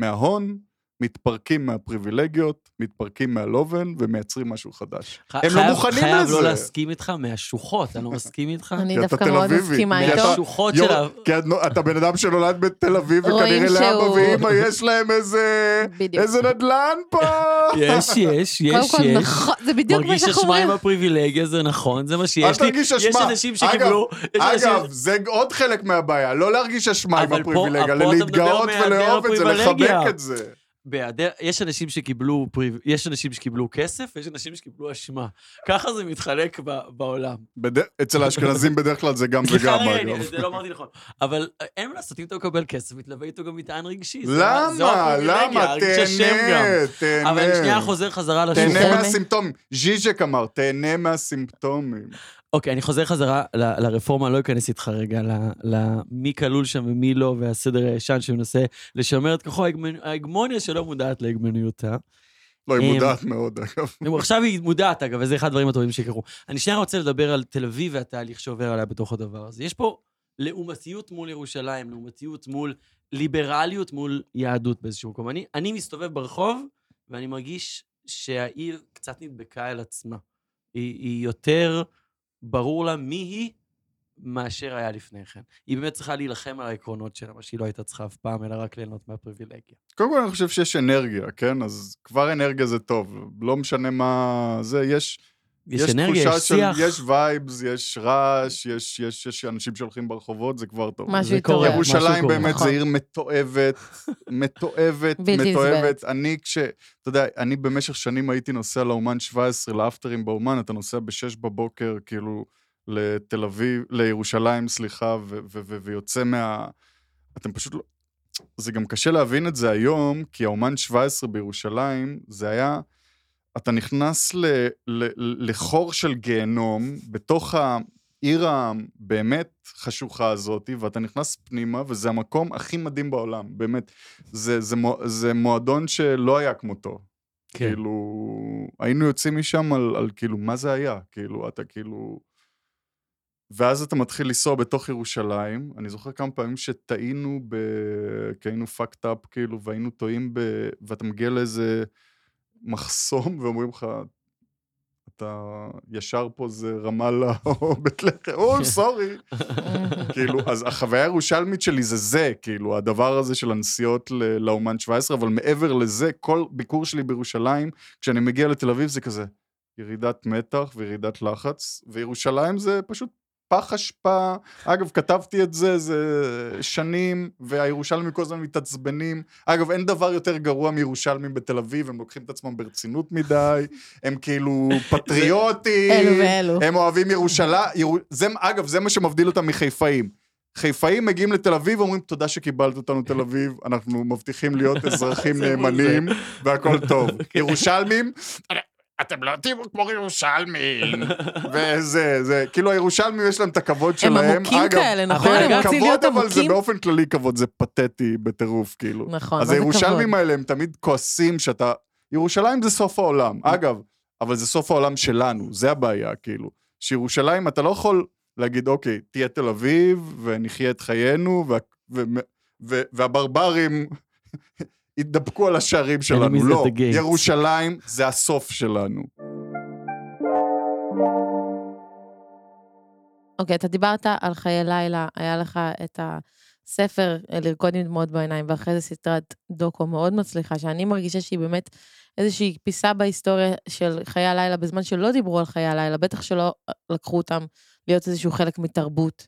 Speaker 1: מההון, מתפרקים מהפריבילגיות, מתפרקים מהלובן ומייצרים משהו חדש.
Speaker 3: ח-
Speaker 1: לא
Speaker 3: חייב-
Speaker 1: מוכנים
Speaker 3: חייב
Speaker 1: לזה.
Speaker 3: לא להסכים איתך מהשוחות, אני לא מסכים איתך.
Speaker 2: אני
Speaker 1: אה, כי אתה
Speaker 2: דווקא
Speaker 1: תל
Speaker 2: מאוד
Speaker 1: אביבי,
Speaker 2: מסכימה
Speaker 1: כי אתה-
Speaker 2: איתו.
Speaker 3: מהשוחות של ה...
Speaker 1: יור, כי את- אתה בן אדם שנולד בתל אביב,
Speaker 2: רואים
Speaker 1: וכנראה לאבא
Speaker 2: שהוא-
Speaker 1: ואימא יש להם איזה...
Speaker 2: בדיוק.
Speaker 1: איזה נדלן פה!
Speaker 3: יש, יש,
Speaker 2: קודם
Speaker 3: יש,
Speaker 2: כל,
Speaker 3: יש.
Speaker 2: נכון, זה בדיוק מה
Speaker 3: מרגיש
Speaker 2: שאנחנו
Speaker 3: אשמה
Speaker 2: אומרים.
Speaker 3: עם הפריבילגיה, זה נכון, זה מה
Speaker 1: אל
Speaker 3: שיש לי.
Speaker 1: תרגיש
Speaker 3: יש
Speaker 1: אשמה.
Speaker 3: אנשים שקיבלו... יש אנשים-
Speaker 1: אגב, זה עוד חלק מהבעיה, לא להרגיש אשמה עם
Speaker 3: אבל פה-
Speaker 1: הפריבילגיה,
Speaker 3: פה אתה מדבר
Speaker 1: להתגאות
Speaker 3: מהיעדר
Speaker 1: ולאהוב את זה,
Speaker 3: הפריבילגיה.
Speaker 1: לחבק את זה.
Speaker 3: בהיעדר, יש אנשים שקיבלו, פריב- יש אנשים שקיבלו כסף, ויש אנשים שקיבלו אשמה. ככה זה מתחלק ב- בעולם.
Speaker 1: בד... אצל האשכנזים בדרך כלל זה גם
Speaker 3: סליחה,
Speaker 1: וגם,
Speaker 3: רגע, אני-
Speaker 1: אגב.
Speaker 3: זה לא אמרתי נכון. אבל אה, אין מה לעשות, אם אתה מקבל כסף, מתלווה איתו גם מטען רגשי. זה- זה
Speaker 1: למה?
Speaker 3: הפריבילגיה,
Speaker 1: למה?
Speaker 3: הרגשי שם גם.
Speaker 1: תהנה, תהנה.
Speaker 3: אבל אני שנייה חוזר חזרה לשולחן.
Speaker 1: תהנה
Speaker 2: תהנה.
Speaker 1: מהסימפטומים. ז'יז'ק אמר, תהנה מהסימפטומים.
Speaker 3: אוקיי, אני חוזר חזרה ל- לרפורמה, לא אכנס איתך רגע ל- למי כלול שם ומי לא, והסדר הישן שמנסה לשמר את כוחו, ההגמנ- ההגמוניה שלא מודעת להגמוניותה.
Speaker 1: לא, היא
Speaker 3: אמ,
Speaker 1: מודעת מאוד, אגב.
Speaker 3: נו, עכשיו היא מודעת, אגב, וזה אחד הדברים הטובים שקרו. אני שנייה רוצה לדבר על תל אביב והתהליך שעובר עליה בתוך הדבר הזה. יש פה לעומתיות מול ירושלים, לעומתיות מול ליברליות מול יהדות באיזשהו מקום. אני, אני מסתובב ברחוב, ואני מרגיש שהעיר קצת נדבקה אל עצמה. היא, היא יותר ברור לה מי היא מאשר היה לפני כן. היא באמת צריכה להילחם על העקרונות שלה, מה שהיא לא הייתה צריכה אף פעם, אלא רק ליהנות מהפריבילגיה.
Speaker 1: קודם כל אני חושב שיש אנרגיה, כן? אז כבר אנרגיה זה טוב. לא משנה מה זה, יש...
Speaker 3: יש, אנרגיה,
Speaker 1: תחושה
Speaker 3: יש שיח.
Speaker 1: של, יש וייבס, יש רעש, יש, יש, יש אנשים שהולכים ברחובות, זה כבר טוב.
Speaker 2: משהו
Speaker 3: זה קורה,
Speaker 2: התעורר.
Speaker 3: משהו
Speaker 1: ירושלים
Speaker 3: קורה.
Speaker 1: באמת
Speaker 2: נכון.
Speaker 1: זו עיר מתועבת, מתועבת,
Speaker 2: בלתי
Speaker 1: מתועבת. אני כש... אתה יודע, אני במשך שנים הייתי נוסע לאומן 17, לאפטרים באומן, אתה נוסע ב-6 בבוקר, כאילו, לתל אביב, לירושלים, סליחה, ו- ו- ו- ויוצא מה... אתם פשוט לא... זה גם קשה להבין את זה היום, כי האומן 17 בירושלים, זה היה... אתה נכנס ל, ל, לחור של גיהנום, בתוך העיר הבאמת חשוכה הזאת, ואתה נכנס פנימה, וזה המקום הכי מדהים בעולם, באמת. זה, זה, מו- זה מועדון שלא היה כמותו. כן. כאילו, היינו יוצאים משם על, על כאילו, מה זה היה? כאילו, אתה כאילו... ואז אתה מתחיל לנסוע בתוך ירושלים. אני זוכר כמה פעמים שטעינו ב... כי היינו fucked up, כאילו, והיינו טועים ב... ואתה מגיע לאיזה מחסום ואומרים לך, אתה ישר פה זה רמאללה או בית לחם, או, סורי. כאילו, אז החוויה הירושלמית שלי זה זה, כאילו, הדבר הזה של הנסיעות ל- לאומן 17, אבל מעבר לזה, כל ביקור שלי בירושלים, כשאני מגיע לתל אביב זה כזה ירידת מתח וירידת לחץ, וירושלים זה פשוט פח אשפה. אגב, כתבתי את זה, זה שנים, והירושלמים כל הזמן מתעצבנים. אגב, אין דבר יותר גרוע מירושלמים בתל אביב, הם לוקחים את עצמם ברצינות מדי, הם כאילו פטריוטים.
Speaker 2: אלו ואלו.
Speaker 1: הם אוהבים ירושלים, יר... זה, אגב, זה מה שמבדיל אותם מחיפאים. חיפאים מגיעים לתל אביב, אומרים, תודה שקיבלת אותנו תל אביב, אנחנו מבטיחים להיות אזרחים
Speaker 3: זה מול
Speaker 1: נאמנים, והכל טוב.
Speaker 3: כן.
Speaker 1: ירושלמים, אתם לא תהיו כמו ירושלמים. וזה, זה, כאילו הירושלמים יש להם את הכבוד
Speaker 2: הם
Speaker 1: שלהם.
Speaker 2: עמוקים
Speaker 1: אגב, כן,
Speaker 2: כאלה, נכון?
Speaker 3: אבל
Speaker 2: הם
Speaker 3: אגב,
Speaker 2: רוצים להיות
Speaker 1: כבוד, אבל זה
Speaker 2: עמוקים.
Speaker 1: באופן כללי כבוד, זה פתטי בטירוף, כאילו.
Speaker 2: נכון,
Speaker 1: אז
Speaker 2: מה זה כבוד?
Speaker 1: הירושלמים האלה הם תמיד כועסים שאתה... ירושלים זה סוף העולם.
Speaker 2: אה.
Speaker 1: אגב, אבל זה סוף העולם שלנו, זה הבעיה, כאילו. שירושלים, אתה לא יכול להגיד, אוקיי, תהיה תל אביב, ונחיה את חיינו, וה, ו, ו, והברברים יתדפקו על השערים
Speaker 3: Enemies
Speaker 1: שלנו.
Speaker 3: at
Speaker 1: לא,
Speaker 3: the gates.
Speaker 1: ירושלים זה הסוף שלנו.
Speaker 2: אוקיי, אתה דיברת על חיי לילה, היה לך את הספר אה, לרקוד עם דמעות בעיניים, ואחרי זה סדרת דוקו מאוד מצליחה, שאני מרגישה שהיא באמת איזושהי פיסה בהיסטוריה של חיי הלילה, בזמן שלא דיברו על חיי הלילה, בטח שלא אה, לקחו אותם להיות איזשהו חלק מתרבות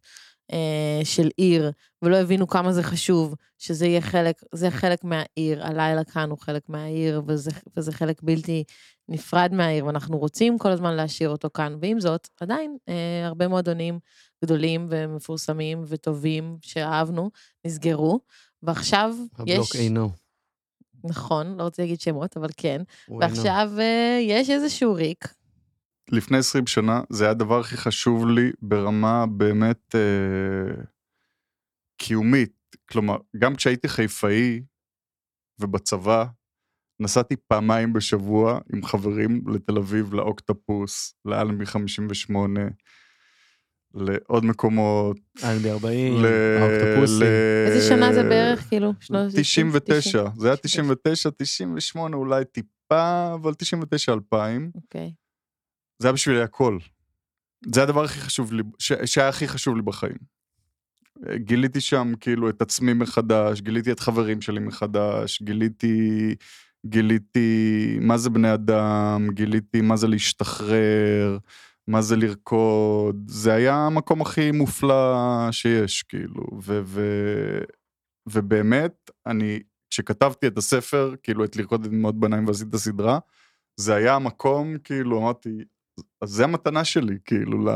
Speaker 2: אה, של עיר, ולא הבינו כמה זה חשוב, שזה יהיה חלק, זה חלק מהעיר, הלילה כאן הוא חלק מהעיר, וזה, וזה חלק בלתי נפרד מהעיר, ואנחנו רוצים כל הזמן להשאיר אותו כאן. ועם זאת, עדיין אה, הרבה מועדונים גדולים ומפורסמים וטובים שאהבנו, נסגרו, ועכשיו
Speaker 3: הבלוק
Speaker 2: יש...
Speaker 3: אינו.
Speaker 2: נכון, לא רוצה להגיד שמות, אבל כן.
Speaker 3: הוא אינו.
Speaker 2: ועכשיו אה, יש איזשהו ריק.
Speaker 1: אה, לפני 20 שנה, זה היה הדבר הכי חשוב לי ברמה באמת אה, קיומית. כלומר, גם כשהייתי חיפאי ובצבא, נסעתי פעמיים בשבוע עם חברים לתל אביב, לאוקטפוס, לאלמי 58, לעוד מקומות.
Speaker 3: אנגלי 40,
Speaker 1: ל-
Speaker 3: האוקטופוסים.
Speaker 1: ל-
Speaker 2: איזה שנה זה בערך, כאילו? שנות...
Speaker 1: 99,
Speaker 2: 90?
Speaker 1: זה היה 99, 98 אולי טיפה, אבל 99, 2000.
Speaker 2: אוקיי.
Speaker 1: זה היה בשבילי הכל. זה הדבר הכי חשוב לי, ש, שהיה הכי חשוב לי בחיים. גיליתי שם כאילו את עצמי מחדש, גיליתי את חברים שלי מחדש, גיליתי, גיליתי מה זה בני אדם, גיליתי מה זה להשתחרר, מה זה לרקוד. זה היה המקום הכי מופלא שיש, כאילו. ו, ו, ובאמת, אני כשכתבתי את הספר, כאילו, את לרקוד את דמעות ביניים ועשיתי את הסדרה, זה היה המקום, כאילו, אמרתי, אז זה המתנה שלי, כאילו, ל...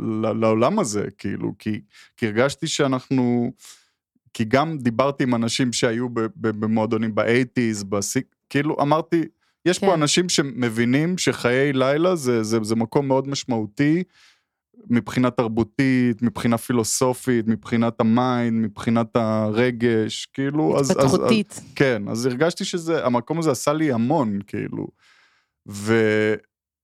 Speaker 1: ל... לעולם הזה, כאילו, כי... כי הרגשתי שאנחנו... כי גם דיברתי עם אנשים שהיו ב... ב... במועדונים באייטיז, בסיק... כאילו, אמרתי, יש כן.
Speaker 2: כן.
Speaker 1: פה אנשים שמבינים שחיי לילה זה, זה, זה מקום מאוד משמעותי מבחינה תרבותית, מבחינה פילוסופית, מבחינת המיינד, מבחינת הרגש, כאילו, אז... אז- אז-
Speaker 2: התפתחותית.
Speaker 1: כן, אז הרגשתי שזה, המקום הזה עשה לי המון, כאילו. ו,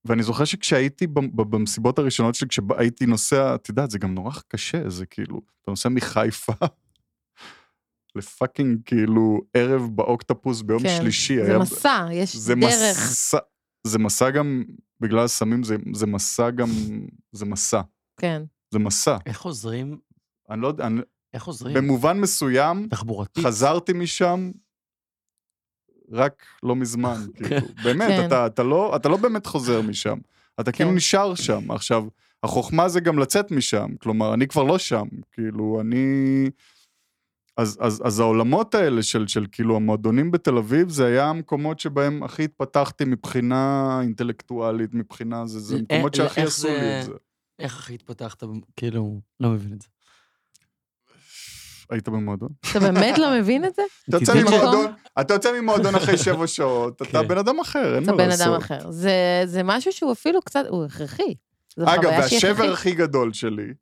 Speaker 1: ואני זוכר שכשהייתי במ- ב- במסיבות הראשונות שלי, כשהייתי נוסע, את יודעת, זה גם נורא קשה, זה כאילו, אתה נוסע מחיפה לפאקינג, כאילו, ערב באוקטפוס ביום
Speaker 2: כן,
Speaker 1: שלישי.
Speaker 2: זה
Speaker 1: היה-
Speaker 2: מסע, יש
Speaker 1: זה
Speaker 2: דרך.
Speaker 1: מסע, זה מסע גם, בגלל הסמים, זה, זה מסע גם, זה מסע.
Speaker 2: כן.
Speaker 1: זה מסע.
Speaker 3: איך חוזרים?
Speaker 1: אני לא יודע, אני-
Speaker 3: איך חוזרים?
Speaker 1: במובן מסוים,
Speaker 3: תחבורתית.
Speaker 1: חזרתי משם רק לא מזמן, כאילו.
Speaker 2: כן.
Speaker 1: באמת, אתה, אתה, לא, אתה לא באמת חוזר משם. אתה כאילו
Speaker 2: כן.
Speaker 1: נשאר שם. עכשיו, החוכמה זה גם לצאת משם. כלומר, אני כבר לא שם. כאילו, אני... אז, אז, אז העולמות האלה של, של כאילו המועדונים בתל אביב, זה היה המקומות שבהם הכי התפתחתי מבחינה אינטלקטואלית, מבחינה זה, זה
Speaker 3: אה,
Speaker 1: מקומות שהכי
Speaker 3: איך
Speaker 1: עשו
Speaker 3: זה-
Speaker 1: לי את זה.
Speaker 3: איך הכי התפתחת? כאילו, לא מבין את זה.
Speaker 1: היית במועדון?
Speaker 2: אתה באמת לא מבין את זה?
Speaker 1: אתה יוצא
Speaker 3: קיבלתי-
Speaker 1: ממועדון, אתה יוצא ממועדון אחרי שבע שעות, אתה
Speaker 3: כן.
Speaker 1: בן אדם אחר, אין
Speaker 2: אתה
Speaker 1: מה
Speaker 2: בן אדם
Speaker 1: לעשות.
Speaker 2: אחר. זה- זה משהו שהוא אפילו קצת, הוא הכרחי. זו
Speaker 1: אגב,
Speaker 2: חוויה שהיא
Speaker 1: והשבר
Speaker 2: הכרחית.
Speaker 1: הכי גדול שלי,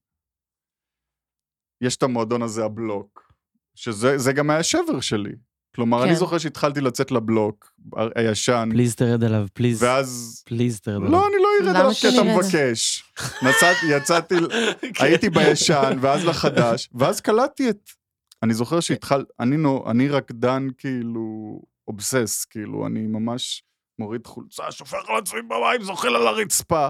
Speaker 1: יש את המועדון הזה, הבלוק, שזה זה גם היה השבר שלי. כלומר, אני
Speaker 2: כן.
Speaker 1: זוכר שהתחלתי לצאת לבלוק ה- הישן,
Speaker 3: פליז תרד עליו, פליז.
Speaker 1: ואז...
Speaker 3: פליז תרד עליו.
Speaker 1: לא, אני לא ארד
Speaker 2: למה
Speaker 1: עליו כי אתה
Speaker 2: שנרד?
Speaker 1: מבקש. נסעתי, יצאתי,
Speaker 3: כן.
Speaker 1: הייתי בישן, ואז לחדש, ואז קלטתי את... אני זוכר שהתחל... אני, נו, אני רקדן כאילו אובסס, כאילו, אני ממש מוריד חולצה, שופך על עצמי במים, זוחל על הרצפה.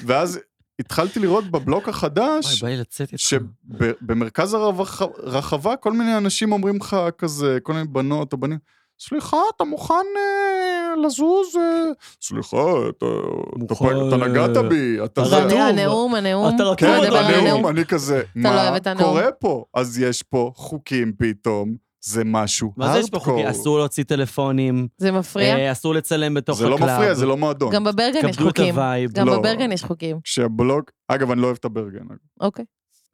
Speaker 1: ואז התחלתי לראות בבלוק
Speaker 3: וואי,
Speaker 1: החדש,
Speaker 3: בא לי לצאת איתך.
Speaker 1: שבמרכז הרחבה כל מיני אנשים אומרים לך כזה, כל מיני בנות או בנים, סליחה, אתה מוכן אה, לזוז? אה, סליחה, אתה, אתה,
Speaker 3: מוכן,
Speaker 1: אתה נגעת בי, אתה
Speaker 3: אתה
Speaker 1: זה...
Speaker 3: רטוב.
Speaker 2: זה הנאום, הנאום.
Speaker 3: אתה
Speaker 1: כן,
Speaker 3: רטוב,
Speaker 2: בוא נדבר על
Speaker 1: הנאום,
Speaker 2: הנאום.
Speaker 1: אני כזה,
Speaker 2: לא אוהב
Speaker 1: מה
Speaker 2: את הנאום.
Speaker 1: קורה פה? אז יש פה חוקים פתאום, זה משהו
Speaker 3: מה זה יש פה חוקי? אסור להוציא טלפונים,
Speaker 2: זה מפריע.
Speaker 3: אה, אסור לצלם בתוך
Speaker 1: זה לא
Speaker 3: הקלאב.
Speaker 1: מפריע, זה לא מועדון.
Speaker 2: גם בברגן יש
Speaker 3: כבדו את
Speaker 2: חוקים.
Speaker 3: הווייב.
Speaker 2: גם
Speaker 1: לא.
Speaker 2: בברגן יש חוקים.
Speaker 1: כשהבלוג, אגב, אני לא אוהב את הברגן.
Speaker 2: אוקיי.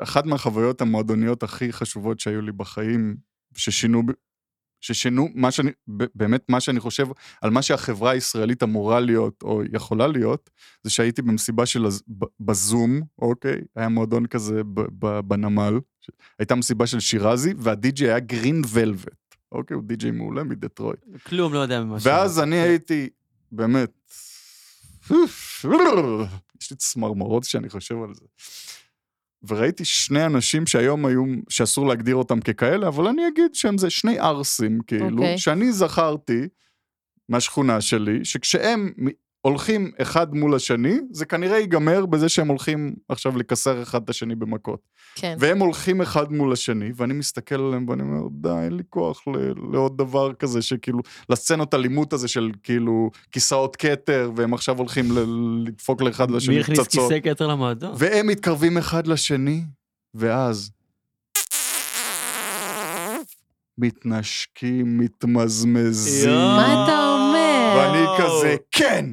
Speaker 1: אחת מהחוויות המועדוניות הכי חשובות שהיו לי בחיים, ששינו, ב- ששינו מה שאני, ב- באמת מה שאני חושב על מה שהחברה הישראלית אמורה להיות או יכולה להיות, זה שהייתי במסיבה של הז- ב- בזום, אוקיי? היה מועדון כזה ב- ב- בנמל. ש- הייתה מסיבה של שירזי, והדי-ג'יי היה גרין ולווט, אוקיי? הוא די-ג'יי מעולה מדטרויט.
Speaker 3: כלום, לא יודע ממה ש...
Speaker 1: ואז אני כן. הייתי, באמת, יש לי צמרמורות כשאני חושב על זה. וראיתי שני אנשים שהיום היו, שאסור להגדיר אותם ככאלה, אבל אני אגיד שהם זה שני ערסים, כאילו,
Speaker 2: אוקיי.
Speaker 1: okay. שאני זכרתי מהשכונה שלי, שכשהם מ- הולכים אחד מול השני, זה כנראה ייגמר בזה שהם הולכים עכשיו לכסר אחד את השני במכות.
Speaker 2: כן.
Speaker 1: והם הולכים אחד מול השני, ואני מסתכל עליהם ואני אומר, די, אין לי כוח ל- לעוד דבר כזה, שכאילו, לסצנות אלימות הזה של כאילו כיסאות כתר, והם עכשיו הולכים ל- לדפוק לאחד
Speaker 3: מי
Speaker 1: לשני
Speaker 3: הכניס
Speaker 1: פצצות.
Speaker 3: כיסא כתר למועדון?
Speaker 1: והם מתקרבים אחד לשני, ואז... מתנשקים, מתמזמזים,
Speaker 3: יואו.
Speaker 2: מה אתה אומר?
Speaker 1: ואני כזה, כן,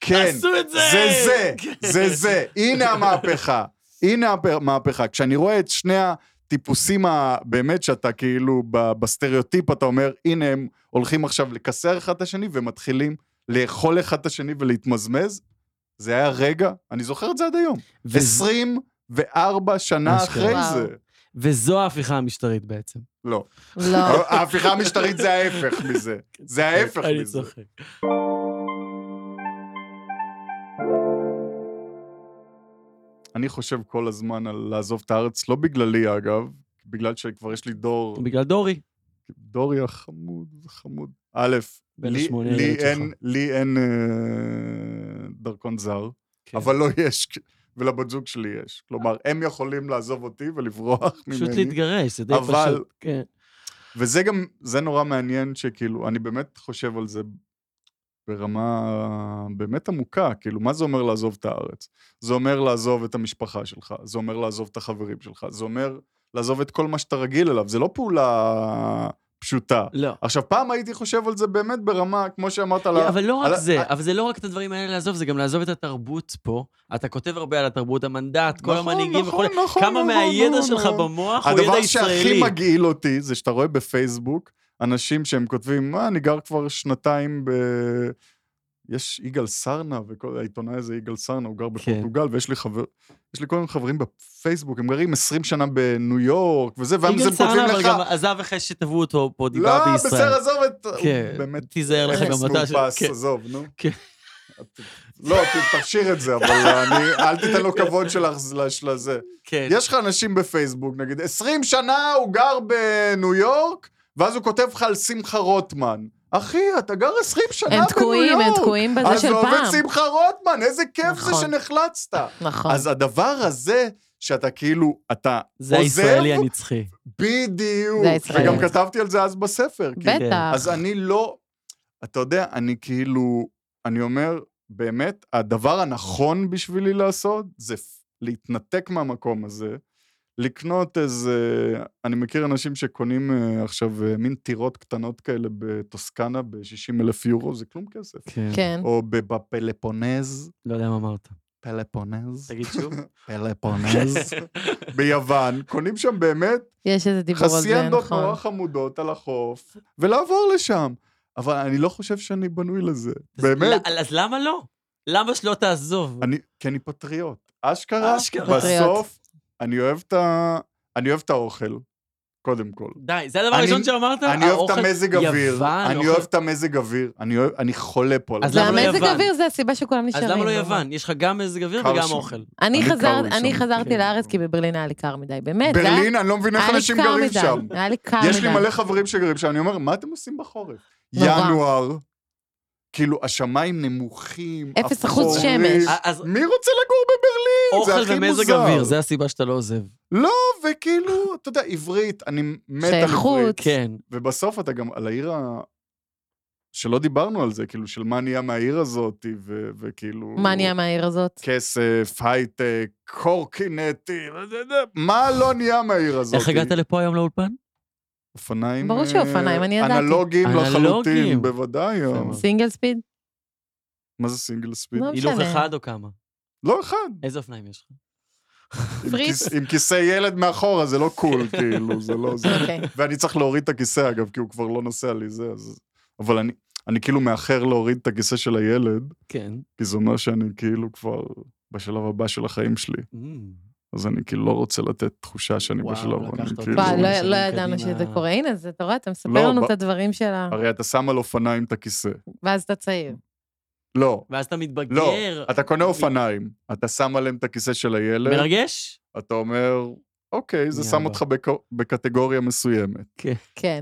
Speaker 1: כן,
Speaker 3: עשו את זה!
Speaker 1: זה זה,
Speaker 3: כן.
Speaker 1: זה זה, הנה המהפכה, הנה הפ- המהפכה. כשאני רואה את שני הטיפוסים הבאמת שאתה כאילו ב- בסטריאוטיפ, אתה אומר, הנה הם הולכים עכשיו לקסר אחד את השני ומתחילים לאכול אחד את השני ולהתמזמז, זה היה רגע, אני זוכר את זה עד היום.
Speaker 3: וזה-
Speaker 1: 24 שנה
Speaker 3: אשכרה.
Speaker 1: אחרי
Speaker 2: וואו.
Speaker 1: זה.
Speaker 3: וזו ההפיכה המשטרית בעצם.
Speaker 1: לא.
Speaker 3: אה.
Speaker 2: לא.
Speaker 1: ההפיכה המשטרית זה ההפך מזה. זה ההפך
Speaker 3: אני
Speaker 1: מזה.
Speaker 3: צוחק.
Speaker 1: אני חושב כל הזמן על לעזוב את הארץ, לא בגללי אגב, בגלל שכבר יש לי דור,
Speaker 3: בגלל דורי.
Speaker 1: דורי החמוד, חמוד. א',
Speaker 3: בן
Speaker 1: לי-
Speaker 3: השמונה
Speaker 1: לי
Speaker 3: לילד שלך.
Speaker 1: אין- לי אין אה, דרכון זר,
Speaker 3: כן.
Speaker 1: אבל לא יש, ולבת זוג שלי יש. כלומר, הם יכולים לעזוב אותי ולברוח
Speaker 3: פשוט
Speaker 1: ממני.
Speaker 3: להתגרש, זה די פשוט.
Speaker 1: אבל-
Speaker 3: כן.
Speaker 1: וזה גם, זה נורא מעניין שכאילו, אני באמת חושב על זה ברמה באמת עמוקה, כאילו, מה זה אומר לעזוב את הארץ? זה אומר לעזוב את המשפחה שלך, זה אומר לעזוב את החברים שלך, זה אומר לעזוב את כל מה שאתה רגיל אליו, זה לא פעולה פשוטה.
Speaker 3: לא.
Speaker 1: עכשיו, פעם הייתי חושב על זה באמת ברמה, כמו שאמרת, על ה-
Speaker 3: אבל לא רק
Speaker 1: על-
Speaker 3: זה,
Speaker 1: על-
Speaker 3: אבל זה לא רק את הדברים האלה לעזוב, זה גם לעזוב את התרבות פה. אתה כותב הרבה על התרבות, המנדט, כל
Speaker 1: נכון,
Speaker 3: המנהיגים
Speaker 1: נכון,
Speaker 3: וכו'.
Speaker 1: נכון,
Speaker 3: כמה
Speaker 1: נכון,
Speaker 3: מהידע
Speaker 1: נכון,
Speaker 3: שלך
Speaker 1: נכון.
Speaker 3: במוח הוא ידע
Speaker 1: הדבר שהכי
Speaker 3: ישראלי.
Speaker 1: מגעיל אותי זה שאתה רואה בפייסבוק אנשים שהם כותבים, מה, אני גר כבר שנתיים ב... יש יגאל סרנה, וכל העיתונאי הזה יגאל סרנה, הוא גר
Speaker 3: כן.
Speaker 1: בפורטוגל, ויש לי חבר... יש לי כל מיני חברים בפייסבוק, הם גרים 20 שנה בניו יורק, וזה, ואז
Speaker 3: יגאל
Speaker 1: הם כותבים
Speaker 3: סרנה, אבל
Speaker 1: לך...
Speaker 3: גם עזב אחרי שתבעו אותו פה,
Speaker 1: לא,
Speaker 3: דיבר בישראל.
Speaker 1: בסדר, עזוב את... הוא
Speaker 3: כן,
Speaker 1: באמת
Speaker 3: תיזהר לך
Speaker 1: אפס
Speaker 2: אוקיי.
Speaker 3: גם אתה. ש-
Speaker 1: מאופס,
Speaker 3: כן.
Speaker 1: עזוב, נו.
Speaker 3: כן.
Speaker 1: את- לא, ת- תשאיר את זה, אבל אני- אל תיתן לו כבוד שלך לש- לזה.
Speaker 3: כן.
Speaker 1: יש לך אנשים בפייסבוק, נגיד, 20 שנה הוא גר בניו יורק, ואז הוא כותב לך על שמחה רוטמן. אחי, אתה גר 20 שנה בניו
Speaker 2: הם
Speaker 1: יורק.
Speaker 2: תקועים, הם תקועים בזה של
Speaker 1: אז עובד
Speaker 2: פעם.
Speaker 1: שמחה רוטמן, איזה כיף זה
Speaker 2: נכון.
Speaker 1: שנחלצת.
Speaker 2: נכון.
Speaker 1: אז הדבר הזה, שאתה כאילו, אתה
Speaker 3: זה
Speaker 1: עוזב?
Speaker 3: הישראלי הנצחי.
Speaker 1: בדיוק.
Speaker 2: זה הישראלי.
Speaker 1: וגם כתבתי על זה אז בספר. כי
Speaker 2: בטח.
Speaker 1: אז אני לא, אתה יודע, אני כאילו, אני אומר, באמת, הדבר הנכון בשבילי לעשות זה פ- להתנתק מהמקום הזה, לקנות איזה, אני מכיר אנשים שקונים אה, עכשיו אה, מין טירות קטנות כאלה בטוסקנה ב-60 אלף יורו, זה כלום כסף.
Speaker 2: כן.
Speaker 1: או ב- בפלפונז,
Speaker 3: לא יודע מה אמרת.
Speaker 1: פלפונז,
Speaker 3: תגיד שוב.
Speaker 1: פלפונז, ביוון, קונים שם באמת
Speaker 2: יש איזה דיבור על זה,
Speaker 1: חסיינדות
Speaker 2: נכון.
Speaker 1: נורא חמודות על החוף, ולעבור לשם. אבל אני לא חושב שאני בנוי לזה, באמת.
Speaker 3: אז- אז למה לא? למה שלא תעזוב?
Speaker 1: אני, כי אני פטריוט. אשכרה,
Speaker 3: אשכרה.
Speaker 1: בסוף, אני אוהב את ה... אני אוהב את האוכל, קודם כל.
Speaker 3: די, זה הדבר
Speaker 1: אני-
Speaker 3: הראשון שאמרת?
Speaker 1: אני אוהב את
Speaker 3: לא, האוכל-
Speaker 1: המזג אוויר,
Speaker 3: יוון,
Speaker 1: אני
Speaker 3: אוכל-
Speaker 1: אוהב את המזג אוויר, אני אוהב- אני חולה פה. על
Speaker 3: אז
Speaker 1: זה.
Speaker 3: למה לא
Speaker 2: והמזג
Speaker 3: יוון?
Speaker 2: אוויר זה הסיבה שכולם
Speaker 3: אז
Speaker 2: נשארים.
Speaker 3: למה לא
Speaker 2: נורא.
Speaker 3: יוון? יש לך גם מזג אוויר
Speaker 1: קר
Speaker 3: וגם
Speaker 1: שם.
Speaker 3: אוכל.
Speaker 2: אני
Speaker 1: אני
Speaker 2: חזר-
Speaker 1: קר לי שם.
Speaker 2: אני חזרתי
Speaker 3: כן.
Speaker 2: לארץ כי בברלין היה לי קר מדי, באמת. זה היה-
Speaker 1: ברלין, אני לא מבין איך
Speaker 2: היה לי
Speaker 1: אנשים
Speaker 2: קר
Speaker 1: גרים
Speaker 2: מדי,
Speaker 1: שם.
Speaker 2: היה לי קר מדי.
Speaker 1: יש לי מלא חברים שגרים שם, אני אומר, מה אתם עושים בחורף?
Speaker 2: נורא.
Speaker 1: ינואר, כאילו, השמיים נמוכים,
Speaker 2: אפס אחוז
Speaker 1: אפורים.
Speaker 2: שמש.
Speaker 3: אה, אז
Speaker 1: מי רוצה לגור בברלין? אה, זה
Speaker 3: אוכל
Speaker 1: הכי
Speaker 3: ומזג
Speaker 1: מוזר.
Speaker 3: אוויר, זה הסיבה שאתה לא עוזב.
Speaker 1: לא, וכאילו, אתה יודע, עברית, אני מת על
Speaker 2: שייכות.
Speaker 1: עברית.
Speaker 3: כן.
Speaker 1: ובסוף אתה גם על העיר ה... שלא דיברנו על זה, כאילו, של מה נהיה מהעיר הזאת, ו- וכאילו...
Speaker 2: מה נהיה מהעיר הזאת?
Speaker 1: כן. כסף, הייטק, קורקינטים, אה, מה לא נהיה מהעיר הזאת?
Speaker 3: איך הגעת לפה היום לאולפן?
Speaker 1: אופניים...
Speaker 2: ברור שאופניים,
Speaker 1: אה,
Speaker 2: אני ידעתי.
Speaker 1: אנלוגיים
Speaker 3: אנלוגיים.
Speaker 1: לחלוטין, בוודאי.
Speaker 3: יפה
Speaker 1: אה.
Speaker 3: מאוד.
Speaker 2: סינגל ספיד?
Speaker 1: מה זה סינגל ספיד?
Speaker 2: לא
Speaker 3: הילוך
Speaker 2: משנה.
Speaker 3: אחד או כמה?
Speaker 1: לא אחד.
Speaker 3: איזה אופניים יש לך?
Speaker 1: עם
Speaker 2: פריט.
Speaker 1: כיס- עם כיסא ילד מאחורה, זה לא קול, כאילו, זה לא זה.
Speaker 2: אוקיי.
Speaker 1: ואני צריך להוריד את הכיסא, אגב, כי הוא כבר לא נוסע לי זה, אז... אבל אני, אני כאילו מאחר להוריד את הכיסא של הילד,
Speaker 3: כן.
Speaker 1: כי זה אומר שאני כאילו כבר בשלב הבא של החיים שלי.
Speaker 3: Mm.
Speaker 1: אז אני כאילו לא רוצה לתת תחושה שאני
Speaker 3: וואו,
Speaker 1: בשלב הבא.
Speaker 3: לקחת
Speaker 1: אני
Speaker 3: אותי.
Speaker 1: כאילו...
Speaker 2: וואי, לא-
Speaker 3: שנים
Speaker 2: לא ידענו
Speaker 3: קדימה.
Speaker 2: שזה קורה. הנה, זה, אתה רואה, אתה מספר
Speaker 1: לא,
Speaker 2: לנו
Speaker 1: ב-
Speaker 2: את הדברים שלה,
Speaker 1: הרי אתה שם על אופניים את הכיסא.
Speaker 2: ואז אתה צעיר.
Speaker 1: לא,
Speaker 3: ואז אתה מתבגר.
Speaker 1: לא. אתה קונה אופניים, אתה שם עליהם את הכיסא של הילד,
Speaker 3: מרגש?
Speaker 1: אתה אומר, אוקיי, זה שם
Speaker 3: יאללה.
Speaker 1: אותך בקו- בקטגוריה מסוימת.
Speaker 2: כן.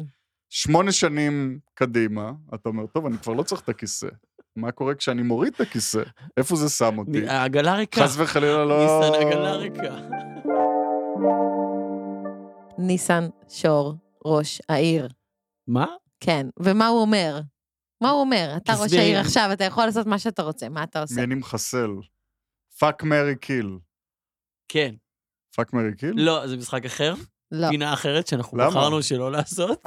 Speaker 1: שמונה שנים קדימה, אתה אומר, טוב, אני כבר לא צריך את הכיסא. מה קורה כשאני מוריד את הכיסא? איפה זה שם אותי?
Speaker 3: העגלה ריקה.
Speaker 1: חס וחלילה לא...
Speaker 3: ניסן, העגלה ריקה.
Speaker 2: ניסן שור, ראש העיר.
Speaker 3: מה?
Speaker 2: כן. ומה הוא אומר? מה הוא אומר? אתה ראש
Speaker 3: תסבירי.
Speaker 2: העיר עכשיו, אתה יכול לעשות מה שאתה רוצה, מה אתה עושה?
Speaker 1: מי אני מחסל? פאק מרי קיל.
Speaker 3: כן.
Speaker 1: פאק מרי קיל?
Speaker 3: לא, זה משחק אחר,
Speaker 2: לא.
Speaker 3: פינה אחרת שאנחנו
Speaker 1: למה?
Speaker 3: בחרנו שלא לעשות.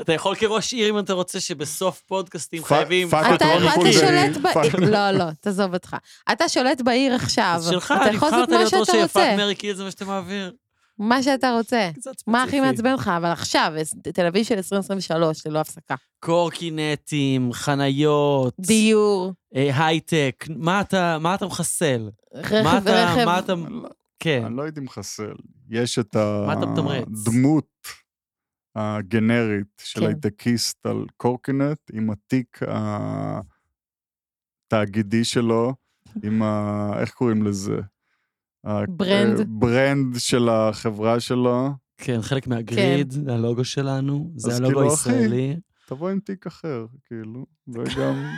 Speaker 3: אתה יכול כראש עיר, אם אתה רוצה, שבסוף פודקאסטים
Speaker 1: פאק-
Speaker 3: חייבים...
Speaker 1: פאק
Speaker 2: אתה
Speaker 1: פטרון
Speaker 2: החלטת
Speaker 1: קונדרי.
Speaker 2: שולט
Speaker 1: פאק.
Speaker 2: בעיר, לא, לא, תעזוב אותך. אתה שולט בעיר עכשיו.
Speaker 3: זה שלך,
Speaker 2: אתה יכול לעשות
Speaker 3: נבחרת
Speaker 2: מה
Speaker 3: להיות ראש
Speaker 2: שאתה
Speaker 3: עיר, פאק
Speaker 2: רוצה,
Speaker 3: מרי קיל, זה מה שאתה מעביר.
Speaker 2: מה שאתה רוצה.
Speaker 3: קצת ספציפי.
Speaker 2: מה הכי מעצבן לך? אבל עכשיו, תל אביב של 2023, ללא הפסקה.
Speaker 3: קורקינטים, חניות,
Speaker 2: דיור,
Speaker 3: אה, הייטק, מה אתה מה אתה מחסל? מה
Speaker 2: רכב,
Speaker 3: אתה... מה
Speaker 2: רכב.
Speaker 3: אתה...
Speaker 1: לא,
Speaker 3: כן.
Speaker 1: אני לא הייתי מחסל. יש את
Speaker 3: מה אתה מתמרץ?
Speaker 1: הדמות הגנרית של
Speaker 2: כן.
Speaker 1: הייטקיסט על קורקינט, עם התיק התאגידי שלו, עם ה... איך קוראים לזה? ה-
Speaker 2: ברנד.
Speaker 1: אה, ברנד של החברה שלו.
Speaker 3: כן, חלק מהגריד,
Speaker 2: כן.
Speaker 3: זה הלוגו שלנו, זה
Speaker 1: אז
Speaker 3: הלוגו
Speaker 1: כאילו, אחי.
Speaker 3: הישראלי.
Speaker 1: תבוא עם תיק אחר, כאילו, וגם,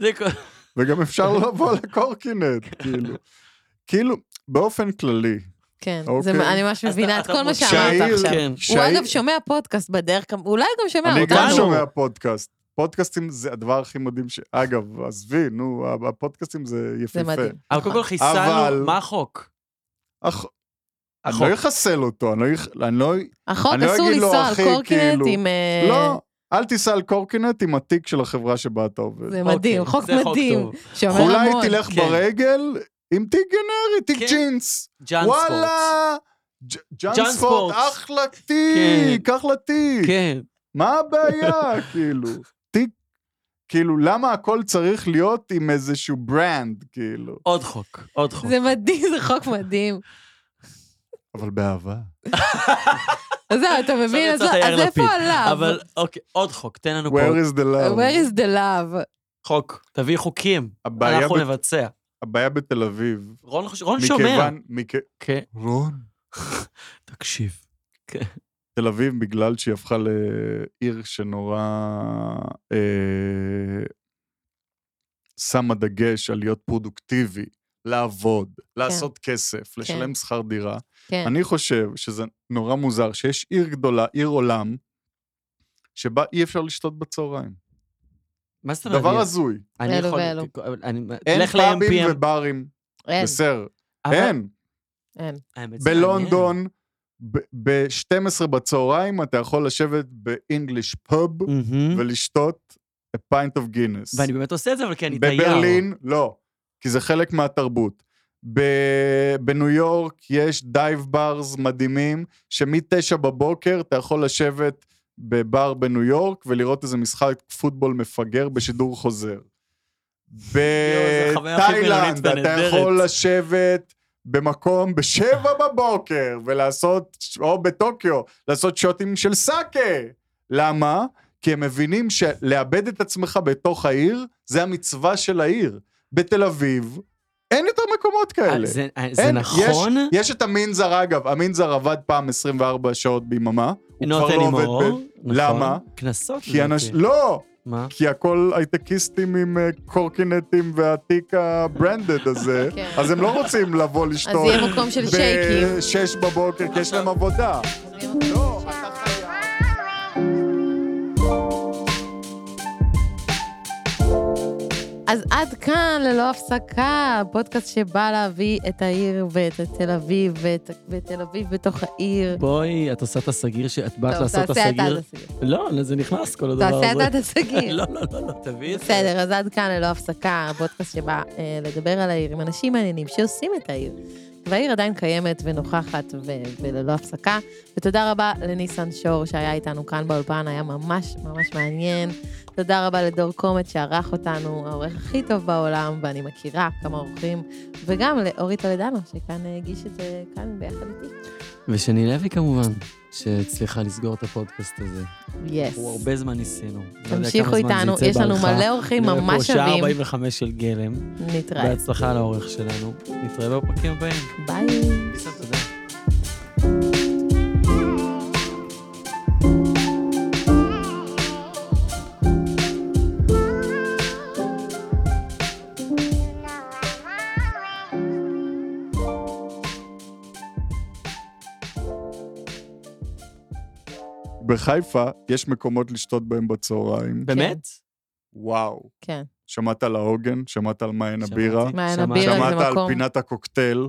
Speaker 3: זה כל-
Speaker 1: וגם אפשר לבוא לקורקינט, כאילו. כאילו, באופן כללי,
Speaker 2: כן, זה-
Speaker 1: אוקיי.
Speaker 2: אני ממש
Speaker 3: אז
Speaker 2: מבינה
Speaker 3: אתה-
Speaker 2: את
Speaker 3: אתה
Speaker 2: כל מה
Speaker 3: מוציא-
Speaker 2: שאמרת
Speaker 1: שהעיר-
Speaker 2: עכשיו.
Speaker 3: כן.
Speaker 2: הוא
Speaker 1: כשהי-
Speaker 2: אגב שומע פודקאסט בדרך, גם- אולי גם שומע
Speaker 1: אני גם
Speaker 2: אותנו.
Speaker 1: שומע פודקאסט. פודקאסטים זה הדבר הכי מדהים ש... אגב, עזבי, נו, הפודקאסטים זה
Speaker 2: זה
Speaker 1: יפהפה.
Speaker 2: מדהים.
Speaker 3: אבל קודם כל
Speaker 1: אבל-
Speaker 3: חיסלנו, מה החוק?
Speaker 1: אך... אני
Speaker 3: החוק.
Speaker 1: לא אחסל אותו, אני לא אח- אני לא...
Speaker 2: החוק
Speaker 1: אני לא
Speaker 2: אסור
Speaker 1: אגיד לו,
Speaker 2: לנסוע על
Speaker 1: אחי,
Speaker 2: קורקינט
Speaker 1: כאילו,
Speaker 2: עם... אה,
Speaker 1: לא, אל תיסע על קורקינט עם התיק של החברה שבה אתה עובד.
Speaker 2: זה מדהים,
Speaker 3: אוקיי,
Speaker 2: חוק
Speaker 3: זה חוק
Speaker 2: מדהים.
Speaker 3: טוב.
Speaker 2: שאומר
Speaker 1: אולי
Speaker 2: המון.
Speaker 1: תלך
Speaker 3: כן.
Speaker 1: ברגל עם תיק גנרי,
Speaker 3: כן.
Speaker 1: תיק ג'ינס.
Speaker 3: ג'אן ספורט.
Speaker 1: וואלה! ג'-
Speaker 3: ג'אן
Speaker 1: ג'אן
Speaker 3: ספורט.
Speaker 1: ספורט, אחלה תיק, אחלה תיק.
Speaker 3: כן,
Speaker 1: מה הבעיה, כאילו? תיק, כאילו, למה הכל צריך להיות עם איזשהו ברנד, כאילו?
Speaker 3: עוד חוק, עוד חוק.
Speaker 2: זה מדהים, זה חוק מדהים.
Speaker 1: אבל באהבה.
Speaker 2: אז זהו, אתה מבין? אז לא,
Speaker 3: יצאת יאיר
Speaker 2: אז איפה
Speaker 3: לפיד,
Speaker 2: הלאו?
Speaker 3: אבל אוקיי, עוד חוק, תן לנו פה
Speaker 1: Where is the love?
Speaker 2: Where is the love?
Speaker 3: חוק. תביא חוקים,
Speaker 1: הבעיה
Speaker 3: אנחנו
Speaker 1: בת-
Speaker 3: נבצע.
Speaker 1: הבעיה בתל אביב.
Speaker 3: רון חוש- רון שומע.
Speaker 1: מכיוון... מכ-
Speaker 3: כן,
Speaker 1: רון.
Speaker 3: תקשיב.
Speaker 1: תל אביב, בגלל שהיא הפכה לעיר שנורא אה, שמה דגש על להיות פרודוקטיבי, לעבוד, לעשות כסף, לשלם שכר דירה,
Speaker 2: כן.
Speaker 1: אני חושב שזה נורא מוזר שיש עיר גדולה, עיר עולם, שבה אי אפשר לשתות בצהריים.
Speaker 3: מה זאת אומרת?
Speaker 1: דבר
Speaker 3: אני-
Speaker 1: הזוי.
Speaker 3: אני
Speaker 2: אלו
Speaker 3: יכול...
Speaker 2: ואלו.
Speaker 3: אני-
Speaker 1: אין
Speaker 3: תלך
Speaker 1: פאבים
Speaker 3: ל-MPM.
Speaker 1: וברים,
Speaker 2: אין,
Speaker 1: בסדר.
Speaker 3: אבל-
Speaker 1: אין.
Speaker 2: אין.
Speaker 3: האמת, זה מעניין.
Speaker 1: בלונדון, ב-12 בצהריים אתה יכול לשבת באנגליש פאב,
Speaker 3: מהמם.
Speaker 1: ולשתות a pint of Guinness.
Speaker 3: ואני באמת עושה את זה, אבל כי אני תייר.
Speaker 1: בברלין, לא, כי זה חלק מהתרבות. ב- בניו יורק יש דייב ברס מדהימים, שמתשע בבוקר אתה יכול לשבת בבר בניו יורק ולראות איזה משחק פוטבול מפגר בשידור חוזר.
Speaker 3: זה החוויה הכי
Speaker 1: בתאילנד
Speaker 3: בינונית
Speaker 1: אתה
Speaker 3: והנהדרת.
Speaker 1: יכול לשבת במקום בשבע בבוקר ולעשות, או בטוקיו, לעשות שוטים של סאקה. למה? כי הם מבינים שלאבד את עצמך בתוך העיר, זה המצווה של העיר. בתל אביב, אין יותר מקומות
Speaker 3: אה,
Speaker 1: כאלה.
Speaker 3: זה- אה, זה
Speaker 1: אין,
Speaker 3: נכון?
Speaker 1: יש, יש את המנזר, אגב, המנזר עד פעם 24 שעות ביממה, הוא
Speaker 3: Not
Speaker 1: כבר לא עובד
Speaker 3: anymore,
Speaker 1: ב...
Speaker 3: נכון.
Speaker 1: למה?
Speaker 3: קנסות.
Speaker 1: כי
Speaker 3: לדעתי.
Speaker 1: אנשים... לא!
Speaker 3: מה?
Speaker 1: כי הכל הייטקיסטים עם אה, קורקינטים והתיק הברנדד הזה,
Speaker 2: כן.
Speaker 1: אז הם לא רוצים לבוא לשתות.
Speaker 2: יהיה מקום של שייקים.
Speaker 1: בשש בבוקר, כי יש להם עבודה. לא, אתה חייב.
Speaker 2: אז עד כאן, ללא הפסקה, הפודקאסט שבא להביא את העיר ואת תל אביב ואת ואת תל אביב בתוך העיר.
Speaker 3: בואי, את עושה את הסגיר, ש- את באת
Speaker 2: טוב,
Speaker 3: לעשות את
Speaker 2: תעשה אתה
Speaker 3: הסגיר.
Speaker 2: את הסגיר.
Speaker 3: לא, לא, זה נכנס כל הדבר הזה.
Speaker 2: תעשה אתה את הסגיר.
Speaker 3: לא, לא, לא, לא, תביא את זה.
Speaker 2: בסדר, אז עד כאן ללא הפסקה, הפודקאסט שבא אה, לדבר על העיר עם אנשים מעניינים שעושים את העיר. והעיר עדיין קיימת ונוכחת ו- וללא הפסקה. ותודה רבה לניסן שור שהיה איתנו כאן באולפן, היה ממש ממש מעניין. תודה רבה לדור קומט שערך אותנו, העורך הכי טוב בעולם, ואני מכירה כמה עורכים, וגם לאורי טולדנו, שכאן אה, הגיש את זה כאן ביחד איתי.
Speaker 3: ושני לוי כמובן, שהצליחה לסגור את הפודקאסט הזה.
Speaker 2: יס.
Speaker 3: הוא הרבה זמן ניסינו. לא
Speaker 2: תמשיכו איתנו, יש לנו מלא אורחים ממש
Speaker 3: שעה
Speaker 2: שווים.
Speaker 3: 45 של גלם.
Speaker 2: נתראה.
Speaker 3: בהצלחה לאורך שלנו. נתראה בפרקים הבאים.
Speaker 2: ביי.
Speaker 3: ניסן, תודה.
Speaker 1: בחיפה יש מקומות לשתות בהם בצהריים.
Speaker 3: באמת?
Speaker 1: וואו.
Speaker 2: כן.
Speaker 1: שמעת על העוגן? שמעת על מעיין
Speaker 3: שמעתי.
Speaker 1: הבירה?
Speaker 2: מעיין
Speaker 3: שמעת-
Speaker 2: הבירה זה
Speaker 1: שמעת על
Speaker 2: מקום...
Speaker 1: פינת הקוקטייל?